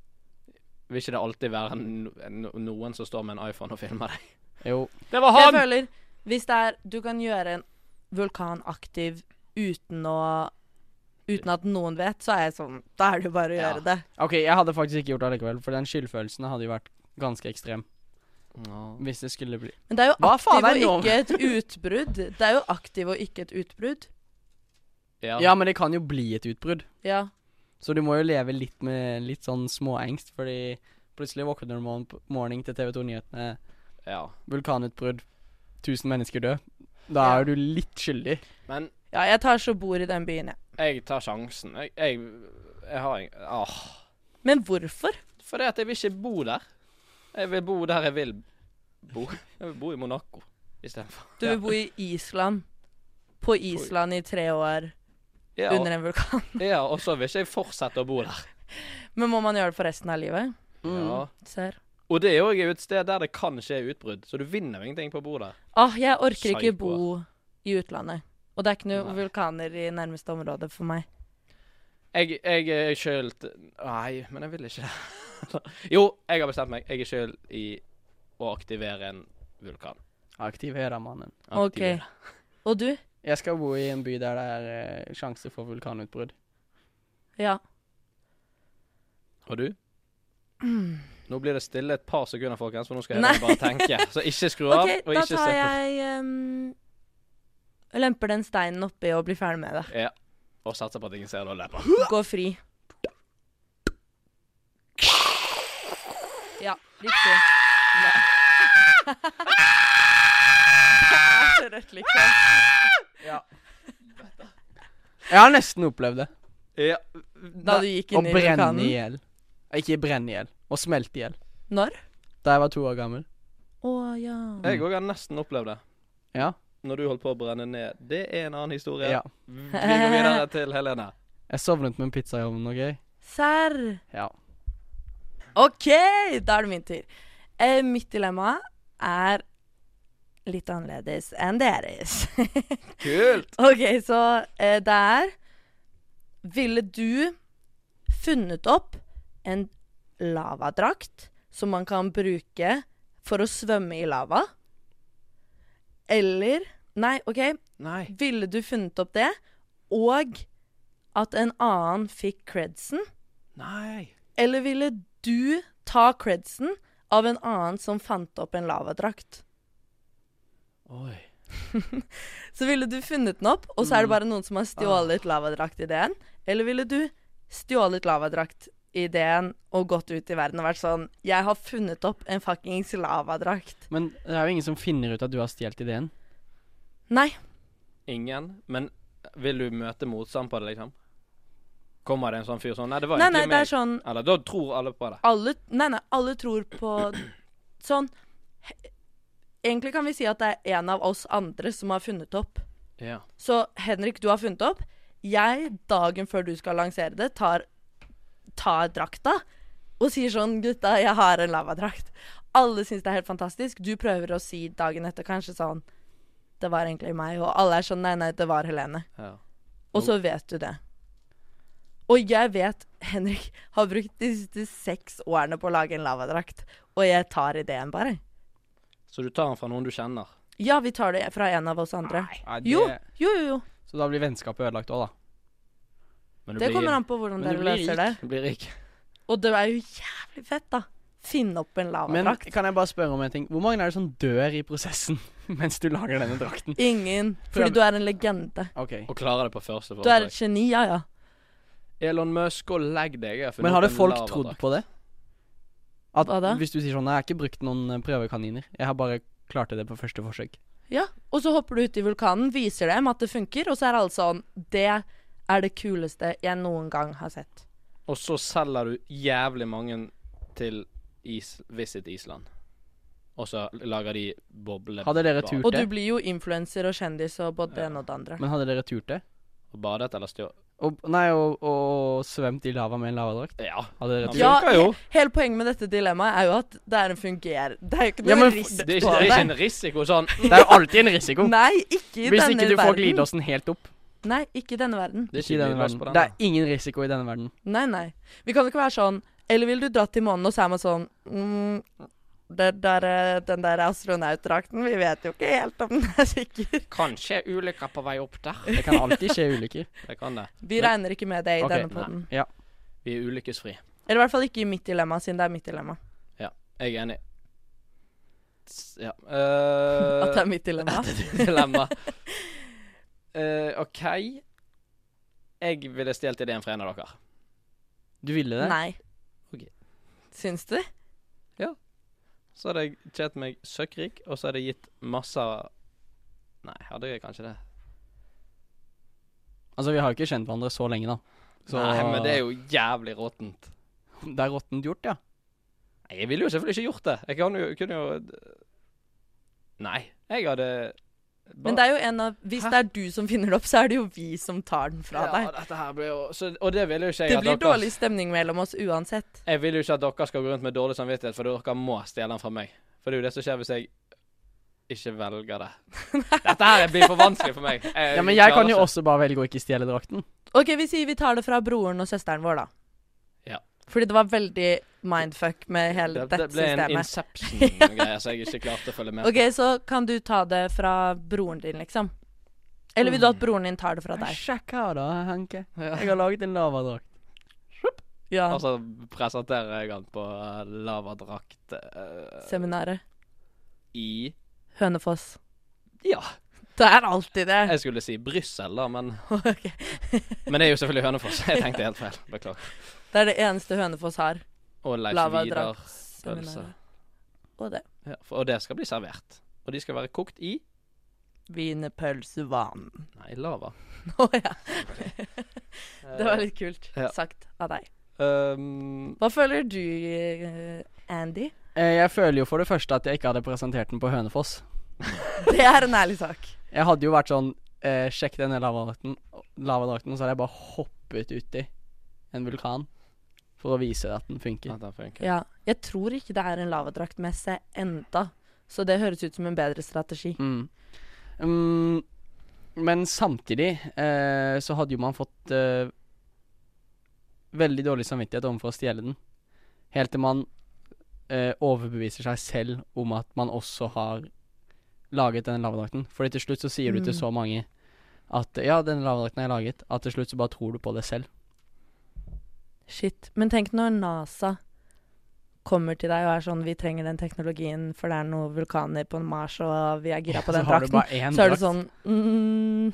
Speaker 2: Vil ikke det alltid være no no noen som står med en iPhone og filmer deg?
Speaker 3: Jo.
Speaker 2: Det var
Speaker 1: Jeg
Speaker 2: han!
Speaker 1: føler Hvis det er Du kan gjøre en vulkan aktiv uten å Uten at noen vet, så er jeg sånn Da er det jo bare å
Speaker 2: Ja.
Speaker 1: gjøre det.
Speaker 3: OK, jeg hadde faktisk ikke gjort det likevel, for den skyldfølelsen hadde jo vært ganske ekstrem.
Speaker 2: Nå.
Speaker 3: Hvis det skulle bli
Speaker 1: Men det er jo
Speaker 3: Hva faen
Speaker 1: aktiv
Speaker 3: er
Speaker 1: og
Speaker 3: lov?
Speaker 1: ikke et utbrudd. Det er jo aktiv og ikke et utbrudd.
Speaker 2: Ja.
Speaker 3: Ja, men det kan jo bli et utbrudd.
Speaker 1: Ja.
Speaker 3: Så du må jo leve litt med litt sånn småengst, fordi plutselig våkner du morgen, morgen til TV 2-nyhetene
Speaker 2: ja.
Speaker 3: Vulkanutbrudd, 1000 mennesker død. Da
Speaker 1: Ja.
Speaker 3: er du litt skyldig.
Speaker 2: Men
Speaker 1: Ja, jeg tar så bord i den byen, jeg.
Speaker 2: jeg tar sjansen. Jeg, jeg, jeg har en Åh.
Speaker 1: Men hvorfor?
Speaker 2: Fordi at jeg vil ikke bo der. Jeg vil bo der jeg vil bo. Jeg vil bo i Monaco istedenfor.
Speaker 1: Du vil bo i Island. På Island i tre år
Speaker 2: Ja, og-
Speaker 1: under en vulkan.
Speaker 2: ja, og så vil ikke jeg fortsette å bo der.
Speaker 1: Men må man gjøre det for resten av livet? Mm.
Speaker 3: Mm.
Speaker 2: Ja.
Speaker 1: Ser.
Speaker 2: Og det er jo et sted der det kan skje utbrudd, så du vinner jo ingenting på å bo der.
Speaker 1: Åh, Ah, jeg orker ikke
Speaker 2: Psyko.
Speaker 1: bo i utlandet. Og det er ikke noen
Speaker 2: Nei.
Speaker 1: vulkaner i nærmeste område for meg.
Speaker 2: Jeg, jeg er skyld Nei, men jeg vil ikke det. jo, jeg har bestemt meg. Jeg er skyld i å aktivere en vulkan.
Speaker 3: Aktiverer mannen.
Speaker 1: OK. Og du?
Speaker 3: Jeg skal bo i en by der det er eh, sjanse for vulkanutbrudd.
Speaker 1: Ja.
Speaker 2: Og du? Nå blir det stille et par sekunder, folkens, for nå skal jeg bare tenke. Så ikke skru av.
Speaker 1: OK,
Speaker 2: og
Speaker 1: da
Speaker 2: ikke se
Speaker 1: tar
Speaker 2: på-
Speaker 1: jeg ehm, Lemper den steinen oppi og blir ferdig med det.
Speaker 2: Ja. Og satser på at ingen ser det og lepper.
Speaker 1: Gå fri. Ja, riktig. Nei. Det er så rødt, liksom.
Speaker 3: Jeg har nesten opplevd det.
Speaker 2: Ja.
Speaker 1: Da du gikk
Speaker 3: Å
Speaker 1: inn i
Speaker 3: brenne i
Speaker 1: vulkanen.
Speaker 3: hjel. Ikke brenne i hjel, å smelte i hjel.
Speaker 1: Når?
Speaker 3: Da jeg var to år gammel.
Speaker 1: Å ja.
Speaker 2: Jeg òg har nesten opplevd det.
Speaker 3: Ja.
Speaker 2: Når du holdt på å brenne ned. Det er en annen historie.
Speaker 3: ja.
Speaker 2: Vi går videre til Helene.
Speaker 3: Jeg sovnet med en pizza i ovnen, OK?
Speaker 1: Serr.
Speaker 3: Ja.
Speaker 1: OK, da er det min tur. Eh, mitt dilemma er litt annerledes enn deres.
Speaker 2: Kult!
Speaker 1: OK, så eh, det er Ville du funnet opp en lavadrakt som man kan bruke for å svømme i lava? Eller Nei, OK.
Speaker 2: Nei.
Speaker 1: Ville du funnet opp det, og at en annen fikk credsen?
Speaker 2: Nei.
Speaker 1: Eller ville du ta credsen av en annen som fant opp en lavadrakt?
Speaker 2: Oi.
Speaker 1: Så ville du funnet den opp, og så er det bare noen som har stjålet lavadraktideen? Eller ville du stjålet lavadraktideen og gått ut i verden og vært sånn Jeg har funnet opp en fuckings lavadrakt.
Speaker 3: Men det er jo ingen som finner ut at du har stjålet ideen.
Speaker 1: Nei.
Speaker 2: Ingen. Men vil du møte motstand på det, liksom? Kommer det en sånn fyr sånn Nei, det var
Speaker 1: Nei, nei,
Speaker 2: egentlig
Speaker 1: det
Speaker 2: meg.
Speaker 1: er sånn
Speaker 2: Eller da tror alle på det.
Speaker 1: alle, Nei, nei, alle tror på sånn he- Egentlig kan vi si at det er en av oss andre som har funnet opp.
Speaker 2: Ja.
Speaker 1: Så Henrik, du har funnet opp. Jeg, dagen før du skal lansere det, tar, tar drakta og sier sånn Gutta, jeg har en lavadrakt. Alle syns det er helt fantastisk. Du prøver å si dagen etter kanskje sånn Det var egentlig meg. Og alle er sånn Nei, nei, det var Helene.
Speaker 2: ja.
Speaker 1: Og så vet du det. Og jeg vet Henrik har brukt de siste seks årene på å lage en lavadrakt, og jeg tar ideen bare.
Speaker 2: Så du tar den fra noen du kjenner?
Speaker 1: Ja, vi tar det fra en av oss andre.
Speaker 3: Nei, det,
Speaker 1: Jo, jo, jo. jo.
Speaker 3: Så da blir vennskapet ødelagt òg, da.
Speaker 2: Men
Speaker 1: Det kommer an på hvordan
Speaker 3: Men du
Speaker 1: dere
Speaker 3: blir
Speaker 1: løser
Speaker 3: rik.
Speaker 1: det.
Speaker 2: Du blir rik.
Speaker 1: Og det er jo jævlig fett, da. Finne opp en
Speaker 3: Men
Speaker 1: lavadrakt.
Speaker 3: kan jeg bare spørre om en ting? Hvor mange er det som dør i prosessen mens du lager denne drakten?
Speaker 1: Ingen. Fordi
Speaker 3: Prøv.
Speaker 1: du er en legende.
Speaker 3: Ok.
Speaker 2: Og klarer det på første
Speaker 1: Du er et
Speaker 2: forsøk.
Speaker 1: geni, ja ja.
Speaker 2: Elon Musk, gå og legg deg. jeg har funnet
Speaker 3: Men hadde
Speaker 2: opp en
Speaker 3: folk
Speaker 2: lavadrakt.
Speaker 3: trodd på det? At
Speaker 1: Hva da?
Speaker 3: Hvis du sier sånn Nei, jeg har ikke brukt noen eh, prøvekaniner. Jeg har bare klart det på første forsøk.
Speaker 1: Ja. Og så hopper du uti vulkanen, viser dem at det funker, og så er alle sånn Det er det kuleste jeg noen gang har sett.
Speaker 2: Og så selger du jævlig mange til is Visit Island. Og så lager de boble
Speaker 3: Hadde dere
Speaker 2: bad.
Speaker 3: turt
Speaker 1: Og du
Speaker 3: det?
Speaker 1: blir jo influenser og kjendis og både det ene og det andre.
Speaker 3: Men hadde dere turt det?
Speaker 2: Og badet eller stjå...
Speaker 3: Og, nei, og, og svømt i lava med en lavadrakt?
Speaker 2: Ja.
Speaker 3: Hadde
Speaker 2: Ja,
Speaker 3: dere turt
Speaker 1: Ja,
Speaker 2: funker jo.
Speaker 1: he- Hele poenget med dette dilemmaet er jo at det er en funger... Det er jo ikke
Speaker 3: Ja,
Speaker 1: noe
Speaker 3: men f-
Speaker 1: risk
Speaker 2: Det er
Speaker 1: på
Speaker 2: ikke, det er
Speaker 1: det.
Speaker 2: ikke en risiko sånn
Speaker 3: det? Det er jo alltid en risiko.
Speaker 1: Nei, ikke i
Speaker 3: Hvis
Speaker 1: denne
Speaker 3: ikke du får
Speaker 1: verden.
Speaker 3: glidelåsen helt opp.
Speaker 1: Nei, ikke i denne verden.
Speaker 2: Det er
Speaker 3: Ikke i
Speaker 2: ikke
Speaker 3: denne
Speaker 2: lydløs
Speaker 3: verden.
Speaker 2: på den.
Speaker 3: Det er ingen risiko i denne verden.
Speaker 1: Nei, nei. Vi kan jo ikke være sånn Eller vil du dra til månen, og så er man sånn mm, det der, eh, Den der astronautdrakten, vi vet jo ikke helt om den er sikker.
Speaker 2: Kanskje ulykker på vei opp der.
Speaker 3: Det kan alltid skje ulykker.
Speaker 2: Det kan det.
Speaker 1: Vi regner ikke med det i
Speaker 3: Ok,
Speaker 1: denne poden.
Speaker 3: Ja.
Speaker 2: Vi er ulykkesfri.
Speaker 1: Eller i hvert fall ikke i mitt dilemma, siden det er mitt dilemma.
Speaker 2: Jeg er enig. S- Ja. Eh,
Speaker 1: At det er mitt dilemma.
Speaker 2: dilemma. Eh, OK. Jeg ville stjålet ideen fra en av dere.
Speaker 3: Du ville det?
Speaker 1: Nei.
Speaker 2: Ok.
Speaker 1: Syns du?
Speaker 2: Så hadde jeg kjent meg søkkrik, og så hadde jeg gitt masse Nei, hadde jeg kanskje det?
Speaker 3: Altså, vi har jo ikke kjent hverandre så lenge, da. Så
Speaker 2: Nei, men det er jo jævlig råttent.
Speaker 3: Det er råttent gjort, ja.
Speaker 2: Nei, jeg ville jo selvfølgelig ikke gjort det. Jeg kan jo, kunne jo Nei, jeg hadde
Speaker 1: Men det er jo en av Hvis
Speaker 2: Hæ?
Speaker 1: det er du som finner det opp, så er det jo vi som tar den fra
Speaker 2: Ja,
Speaker 1: deg.
Speaker 2: dette her blir jo så, Og det vil jo ikke jeg
Speaker 1: Det
Speaker 2: at
Speaker 1: blir
Speaker 2: dere
Speaker 1: dårlig stemning mellom oss uansett.
Speaker 2: Jeg vil jo ikke at dere skal gå rundt med dårlig samvittighet, for dere må stjele den fra meg. For det er jo det som skjer hvis jeg ikke velger det. Dette her blir for vanskelig for meg. Eh,
Speaker 3: Ja, Men jeg kan
Speaker 2: klarer
Speaker 3: jo
Speaker 2: ikke.
Speaker 3: også bare velge å ikke stjele drakten.
Speaker 1: OK, vi sier vi tar det fra broren og søsteren vår, da. Fordi det var veldig mindfuck med hele
Speaker 2: Det,
Speaker 1: dette
Speaker 2: det ble en
Speaker 1: systemet.
Speaker 2: Inception-greie, så jeg ikke klarte å følge med.
Speaker 1: OK, så kan du ta det fra broren din, liksom. Eller vil du
Speaker 2: Mm.
Speaker 1: at broren din tar det fra deg?
Speaker 3: Sjekk her da, Henke.
Speaker 2: Ja.
Speaker 3: Jeg har laget en lavadrakt.
Speaker 1: Ja,
Speaker 2: Og så Altså, presenterer jeg han på eh, lavadrakt eh,
Speaker 1: seminaret.
Speaker 2: i
Speaker 1: Hønefoss.
Speaker 2: Ja,
Speaker 1: Det er alltid det.
Speaker 2: jeg skulle si Brussel, da, men,
Speaker 1: Ok.
Speaker 2: men det er jo selvfølgelig Hønefoss. Jeg tenkte helt feil. Beklager.
Speaker 1: Det er det eneste Hønefoss har.
Speaker 2: Og Leif Vidar.
Speaker 1: Lavadraktseminaret.
Speaker 2: pølse.
Speaker 1: Og det.
Speaker 2: Ja, for- og det skal bli servert. Og de skal være kokt i
Speaker 1: Wienerpølsevann.
Speaker 2: Nei, lava.
Speaker 1: Å ja. Det var litt kult
Speaker 2: Ja.
Speaker 1: sagt av deg.
Speaker 2: Um,
Speaker 1: Hva føler du, eh, Andy?
Speaker 3: Eh, Jeg føler jo for det første at jeg ikke hadde presentert den på Hønefoss.
Speaker 1: Det er en ærlig sak.
Speaker 3: Jeg hadde jo vært sånn eh, Sjekk denne lavadrakten, lavadrakten, og så hadde jeg bare hoppet uti en vulkan. For å vise at den funker.
Speaker 2: at den funker.
Speaker 1: Ja. Jeg tror ikke det er en lavadraktmesse enda, så det høres ut som en bedre strategi.
Speaker 3: Mm. Mm, men samtidig eh, så hadde jo man fått eh, veldig dårlig samvittighet overfor å stjele den. Helt til man eh, overbeviser seg selv om at man også har laget den lavadrakten. Fordi til slutt så sier du til
Speaker 1: Mm.
Speaker 3: så mange at ja, den lavadrakten har jeg laget, at til slutt så bare tror du på det selv.
Speaker 1: Shit. Men tenk når NASA kommer til deg og er sånn 'Vi trenger den teknologien, for det er noen vulkaner på Mars, og vi er gira på
Speaker 3: så
Speaker 1: den
Speaker 3: har du
Speaker 1: drakten'.
Speaker 3: bare én
Speaker 1: Så er det
Speaker 3: drakt.
Speaker 1: sånn mm,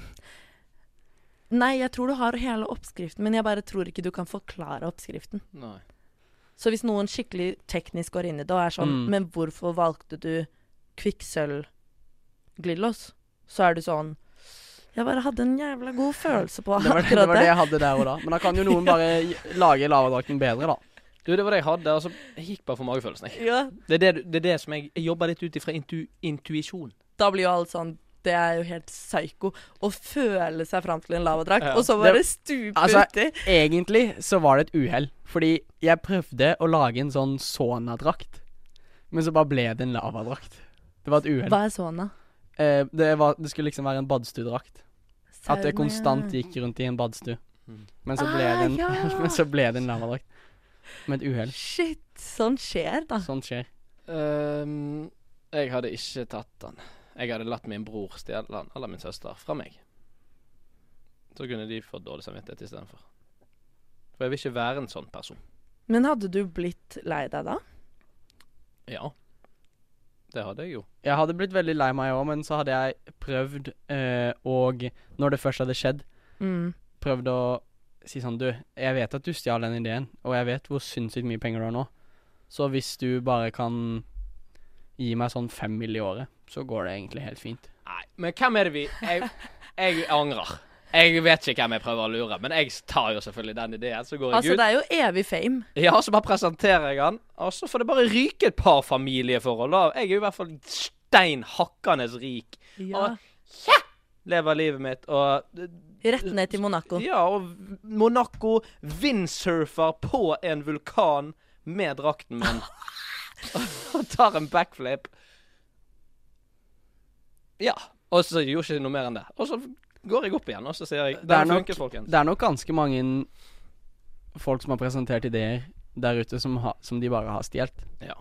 Speaker 1: Nei, jeg tror du har hele oppskriften, men jeg bare tror ikke du kan forklare oppskriften.
Speaker 2: Nei.
Speaker 1: Så hvis noen skikkelig teknisk går inn i det og er sånn
Speaker 3: Mm.
Speaker 1: Men hvorfor valgte du kvikksølvglidelås? Så er du sånn Jeg bare hadde en jævla god følelse på
Speaker 3: Det var,
Speaker 1: akkurat
Speaker 3: det var det jeg hadde der og da. Men da kan jo noen bare j- lage lavadrakten bedre, da.
Speaker 2: Du, det var det jeg hadde. Altså, jeg gikk bare for magefølelsen. Jeg.
Speaker 1: Ja,
Speaker 2: Det, er det, du- det er det som jeg, jeg jobber litt ut ifra intu, intuisjon.
Speaker 1: da blir jo alle sånn Det er jo helt psyko å føle seg fram til en lavadrakt,
Speaker 2: Ja.
Speaker 1: og så bare stupe
Speaker 3: Altså-
Speaker 1: uti.
Speaker 3: Egentlig så var det et uhell, fordi jeg prøvde å lage en sånn sonadrakt, men så bare ble det en lavadrakt. Det var et uhell.
Speaker 1: Hva er sånn, da?
Speaker 3: Eh, det, var- det skulle liksom være en badstuedrakt. At jeg konstant gikk rundt i en badstue.
Speaker 2: Mm.
Speaker 3: Men så ble
Speaker 1: Ah,
Speaker 3: det en,
Speaker 1: ja.
Speaker 3: men så ble det en lavadrakt. Med et uhell.
Speaker 1: Shit, sånn skjer, da.
Speaker 3: Sånt skjer.
Speaker 2: Um, jeg hadde ikke tatt den. Jeg hadde latt min bror stjele den, eller min søster, fra meg. Så kunne de fått dårlig samvittighet istedenfor. For jeg vil ikke være en sånn person.
Speaker 1: Men hadde du blitt lei deg da?
Speaker 2: Ja. Det hadde jeg jo.
Speaker 3: Jeg hadde blitt veldig lei meg òg, men så hadde jeg prøvd, eh, og når det først hadde skjedd,
Speaker 1: Mm.
Speaker 3: prøvd å si sånn Du, jeg vet at du stjal den ideen, og jeg vet hvor sinnssykt mye penger du har nå. Så hvis du bare kan gi meg sånn fem mill. i året, så går det egentlig helt fint.
Speaker 2: Nei, men hvem er det vi Jeg, jeg angrer. Jeg vet ikke hvem jeg prøver å lure, men jeg tar jo selvfølgelig den ideen. Så går jeg
Speaker 1: Altså,
Speaker 2: ut.
Speaker 1: det er jo evig fame.
Speaker 2: Ja, så bare presenterer jeg han, og så får det bare ryke et par familieforhold. da. Jeg er jo i hvert fall stein hakkende rik.
Speaker 1: Ja.
Speaker 2: Lever livet mitt og
Speaker 1: Rett ned til Monaco.
Speaker 2: Ja, og Monaco windsurfer på en vulkan med drakten min. og tar en backflip. Ja. Og så gjorde jeg ikke noe mer enn det. Og så går jeg opp igjen, og så sier jeg
Speaker 3: Det er
Speaker 2: Den
Speaker 3: nok-
Speaker 2: funker, folkens.
Speaker 3: Det er nok ganske mange folk som har presentert ideer der ute som, ha, som de bare har stjålet.
Speaker 2: Ja.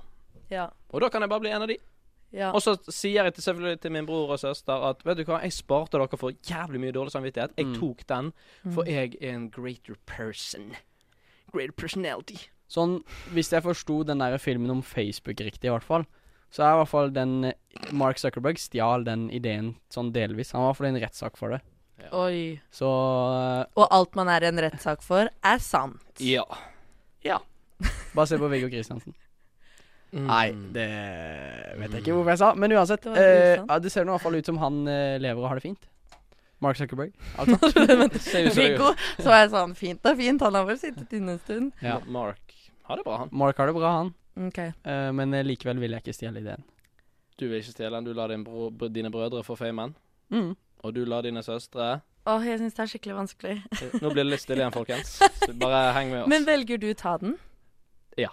Speaker 1: Ja.
Speaker 2: Og da kan jeg bare bli en av de.
Speaker 1: ja.
Speaker 2: Og så sier jeg til, selvfølgelig til min bror og søster at vet du hva, jeg sparte dere for jævlig mye dårlig samvittighet. Jeg
Speaker 3: Mm.
Speaker 2: tok den,
Speaker 1: Mm.
Speaker 2: for jeg er en greater person. Greater personality.
Speaker 3: Sånn, hvis jeg forsto den der filmen om Facebook riktig, i hvert fall, så er i hvert fall den eh, Mark Zuckerberg stjal den ideen sånn delvis. Han var i hvert fall i en rettssak for det.
Speaker 1: Oi.
Speaker 3: Så eh,
Speaker 1: Og alt man er i en rettssak for, er sant.
Speaker 2: Ja.
Speaker 3: Bare se på Viggo Kristiansen.
Speaker 2: Mm.
Speaker 3: Nei, det vet jeg ikke hvorfor jeg sa, men uansett.
Speaker 1: Det
Speaker 3: Det,
Speaker 1: var usant.
Speaker 3: ja, det ser nå i hvert fall ut som han eh, lever og har det fint. Mark Zuckerberg.
Speaker 2: det ser ut som det
Speaker 1: Viggo så er sånn fint og fint, han har vel sittet inne en stund.
Speaker 3: Ja.
Speaker 2: Ma- Mark har det bra, han.
Speaker 3: Mark har det bra, han,
Speaker 1: Ok.
Speaker 3: eh, men eh, likevel vil jeg ikke stjele ideen.
Speaker 2: Du vil ikke stjele den. Du lar din bro, br- dine brødre få famen.
Speaker 3: Mm.
Speaker 2: Og du lar dine søstre
Speaker 1: Åh, jeg syns det er skikkelig vanskelig.
Speaker 2: Nå blir det litt stille igjen, folkens. Så bare heng med oss.
Speaker 1: Men velger du ta den?
Speaker 2: Ja.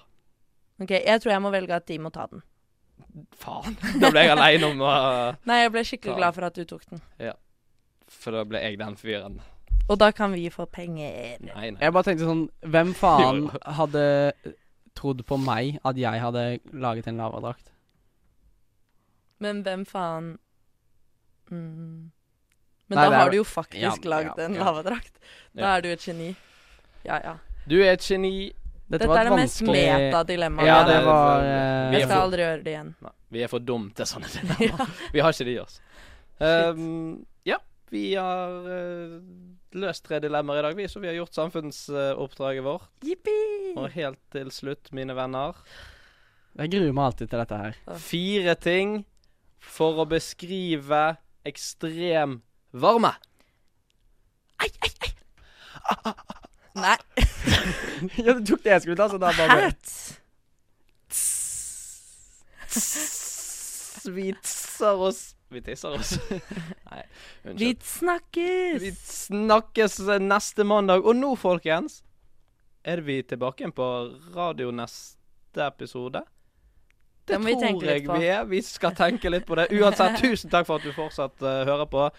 Speaker 1: Ok, jeg tror jeg må velge at de må ta den.
Speaker 2: Faen. Da ble jeg aleine om å
Speaker 1: Nei, jeg ble skikkelig
Speaker 2: Ta den.
Speaker 1: glad for at du tok den.
Speaker 2: For da ble jeg den fyren.
Speaker 1: Og da kan vi få penger.
Speaker 2: Nei, nei.
Speaker 3: Jeg bare tenkte sånn Hvem faen hadde eh, trodd på meg at jeg hadde laget en lavadrakt?
Speaker 1: Men hvem faen mm. Men
Speaker 3: Nei, det
Speaker 1: da
Speaker 3: er
Speaker 1: har
Speaker 3: jo-
Speaker 1: du jo faktisk
Speaker 3: Ja,
Speaker 1: lagd
Speaker 3: ja,
Speaker 1: en
Speaker 3: ja.
Speaker 1: lavadrakt. Da
Speaker 2: Ja.
Speaker 1: er du et geni. Ja, ja.
Speaker 2: Du er et geni.
Speaker 3: Dette,
Speaker 1: Dette
Speaker 3: var
Speaker 1: er
Speaker 3: et
Speaker 1: det mest
Speaker 3: vanskelig
Speaker 1: meta-dilemmaet.
Speaker 3: Ja,
Speaker 1: jeg
Speaker 3: det
Speaker 1: har.
Speaker 3: var
Speaker 2: Vi
Speaker 1: Jeg
Speaker 2: er
Speaker 3: eh,
Speaker 1: skal
Speaker 2: for-
Speaker 1: aldri gjøre det igjen.
Speaker 2: Nei, vi er for dumme til sånne ting.
Speaker 1: Ja.
Speaker 2: Vi har ikke det i oss. Ehm, ja, vi har eh, løst tre dilemmaer i dag, vi, så vi har gjort samfunnsoppdraget vårt.
Speaker 1: Jippi!
Speaker 2: Og helt til slutt, mine venner
Speaker 3: Jeg gruer meg alltid til dette her.
Speaker 2: Fire ting for å beskrive ekstrem varme.
Speaker 1: Nei,
Speaker 3: ja, du tok det jeg skulle ta, så da bare
Speaker 1: hat!
Speaker 2: Vi tisser oss Vi tisser oss. Nei,
Speaker 1: Vi
Speaker 2: unnskyld.
Speaker 1: snakkes!
Speaker 2: Vi snakkes eh, neste mandag. Og nå, folkens, er vi tilbake igjen på radio neste episode. Det
Speaker 1: Det må vi
Speaker 2: tror
Speaker 1: tenke litt
Speaker 2: jeg
Speaker 1: på.
Speaker 2: vi er. Vi skal tenke litt på det. Uansett, tusen takk for at du fortsatt eh, hører på.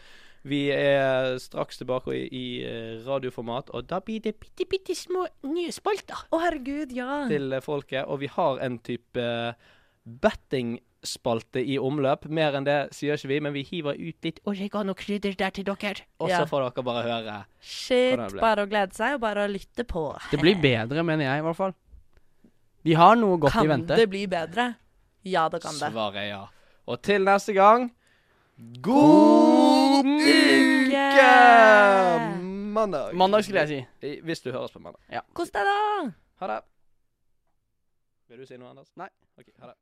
Speaker 2: Vi er eh, straks tilbake i, i eh, radioformat, og da blir det bitte, bitte små nye spalter
Speaker 1: Å, herregud, ja.
Speaker 2: til eh, folket. Og vi har en type eh, bettingspalte i omløp. Mer enn det sier ikke vi, men vi hiver ut litt oregano krydder der til dere. Og så
Speaker 1: Ja.
Speaker 2: får dere bare høre.
Speaker 1: Shit.
Speaker 2: Hvordan det ble.
Speaker 1: Bare å glede seg, og bare å lytte på.
Speaker 3: Det blir bedre, mener jeg, i hvert fall. De har noe godt i
Speaker 1: Kan
Speaker 3: vente.
Speaker 1: det bli bedre? Ja, det kan det.
Speaker 2: Svaret er ja. Og til neste gang God uke! Mandag.
Speaker 3: Mandag skulle jeg si.
Speaker 2: I- Hvis du høres på mandag.
Speaker 1: Kos deg, da!
Speaker 2: Ha det. Vil du si noe, Anders?
Speaker 3: Nei.
Speaker 2: Ok, ha det.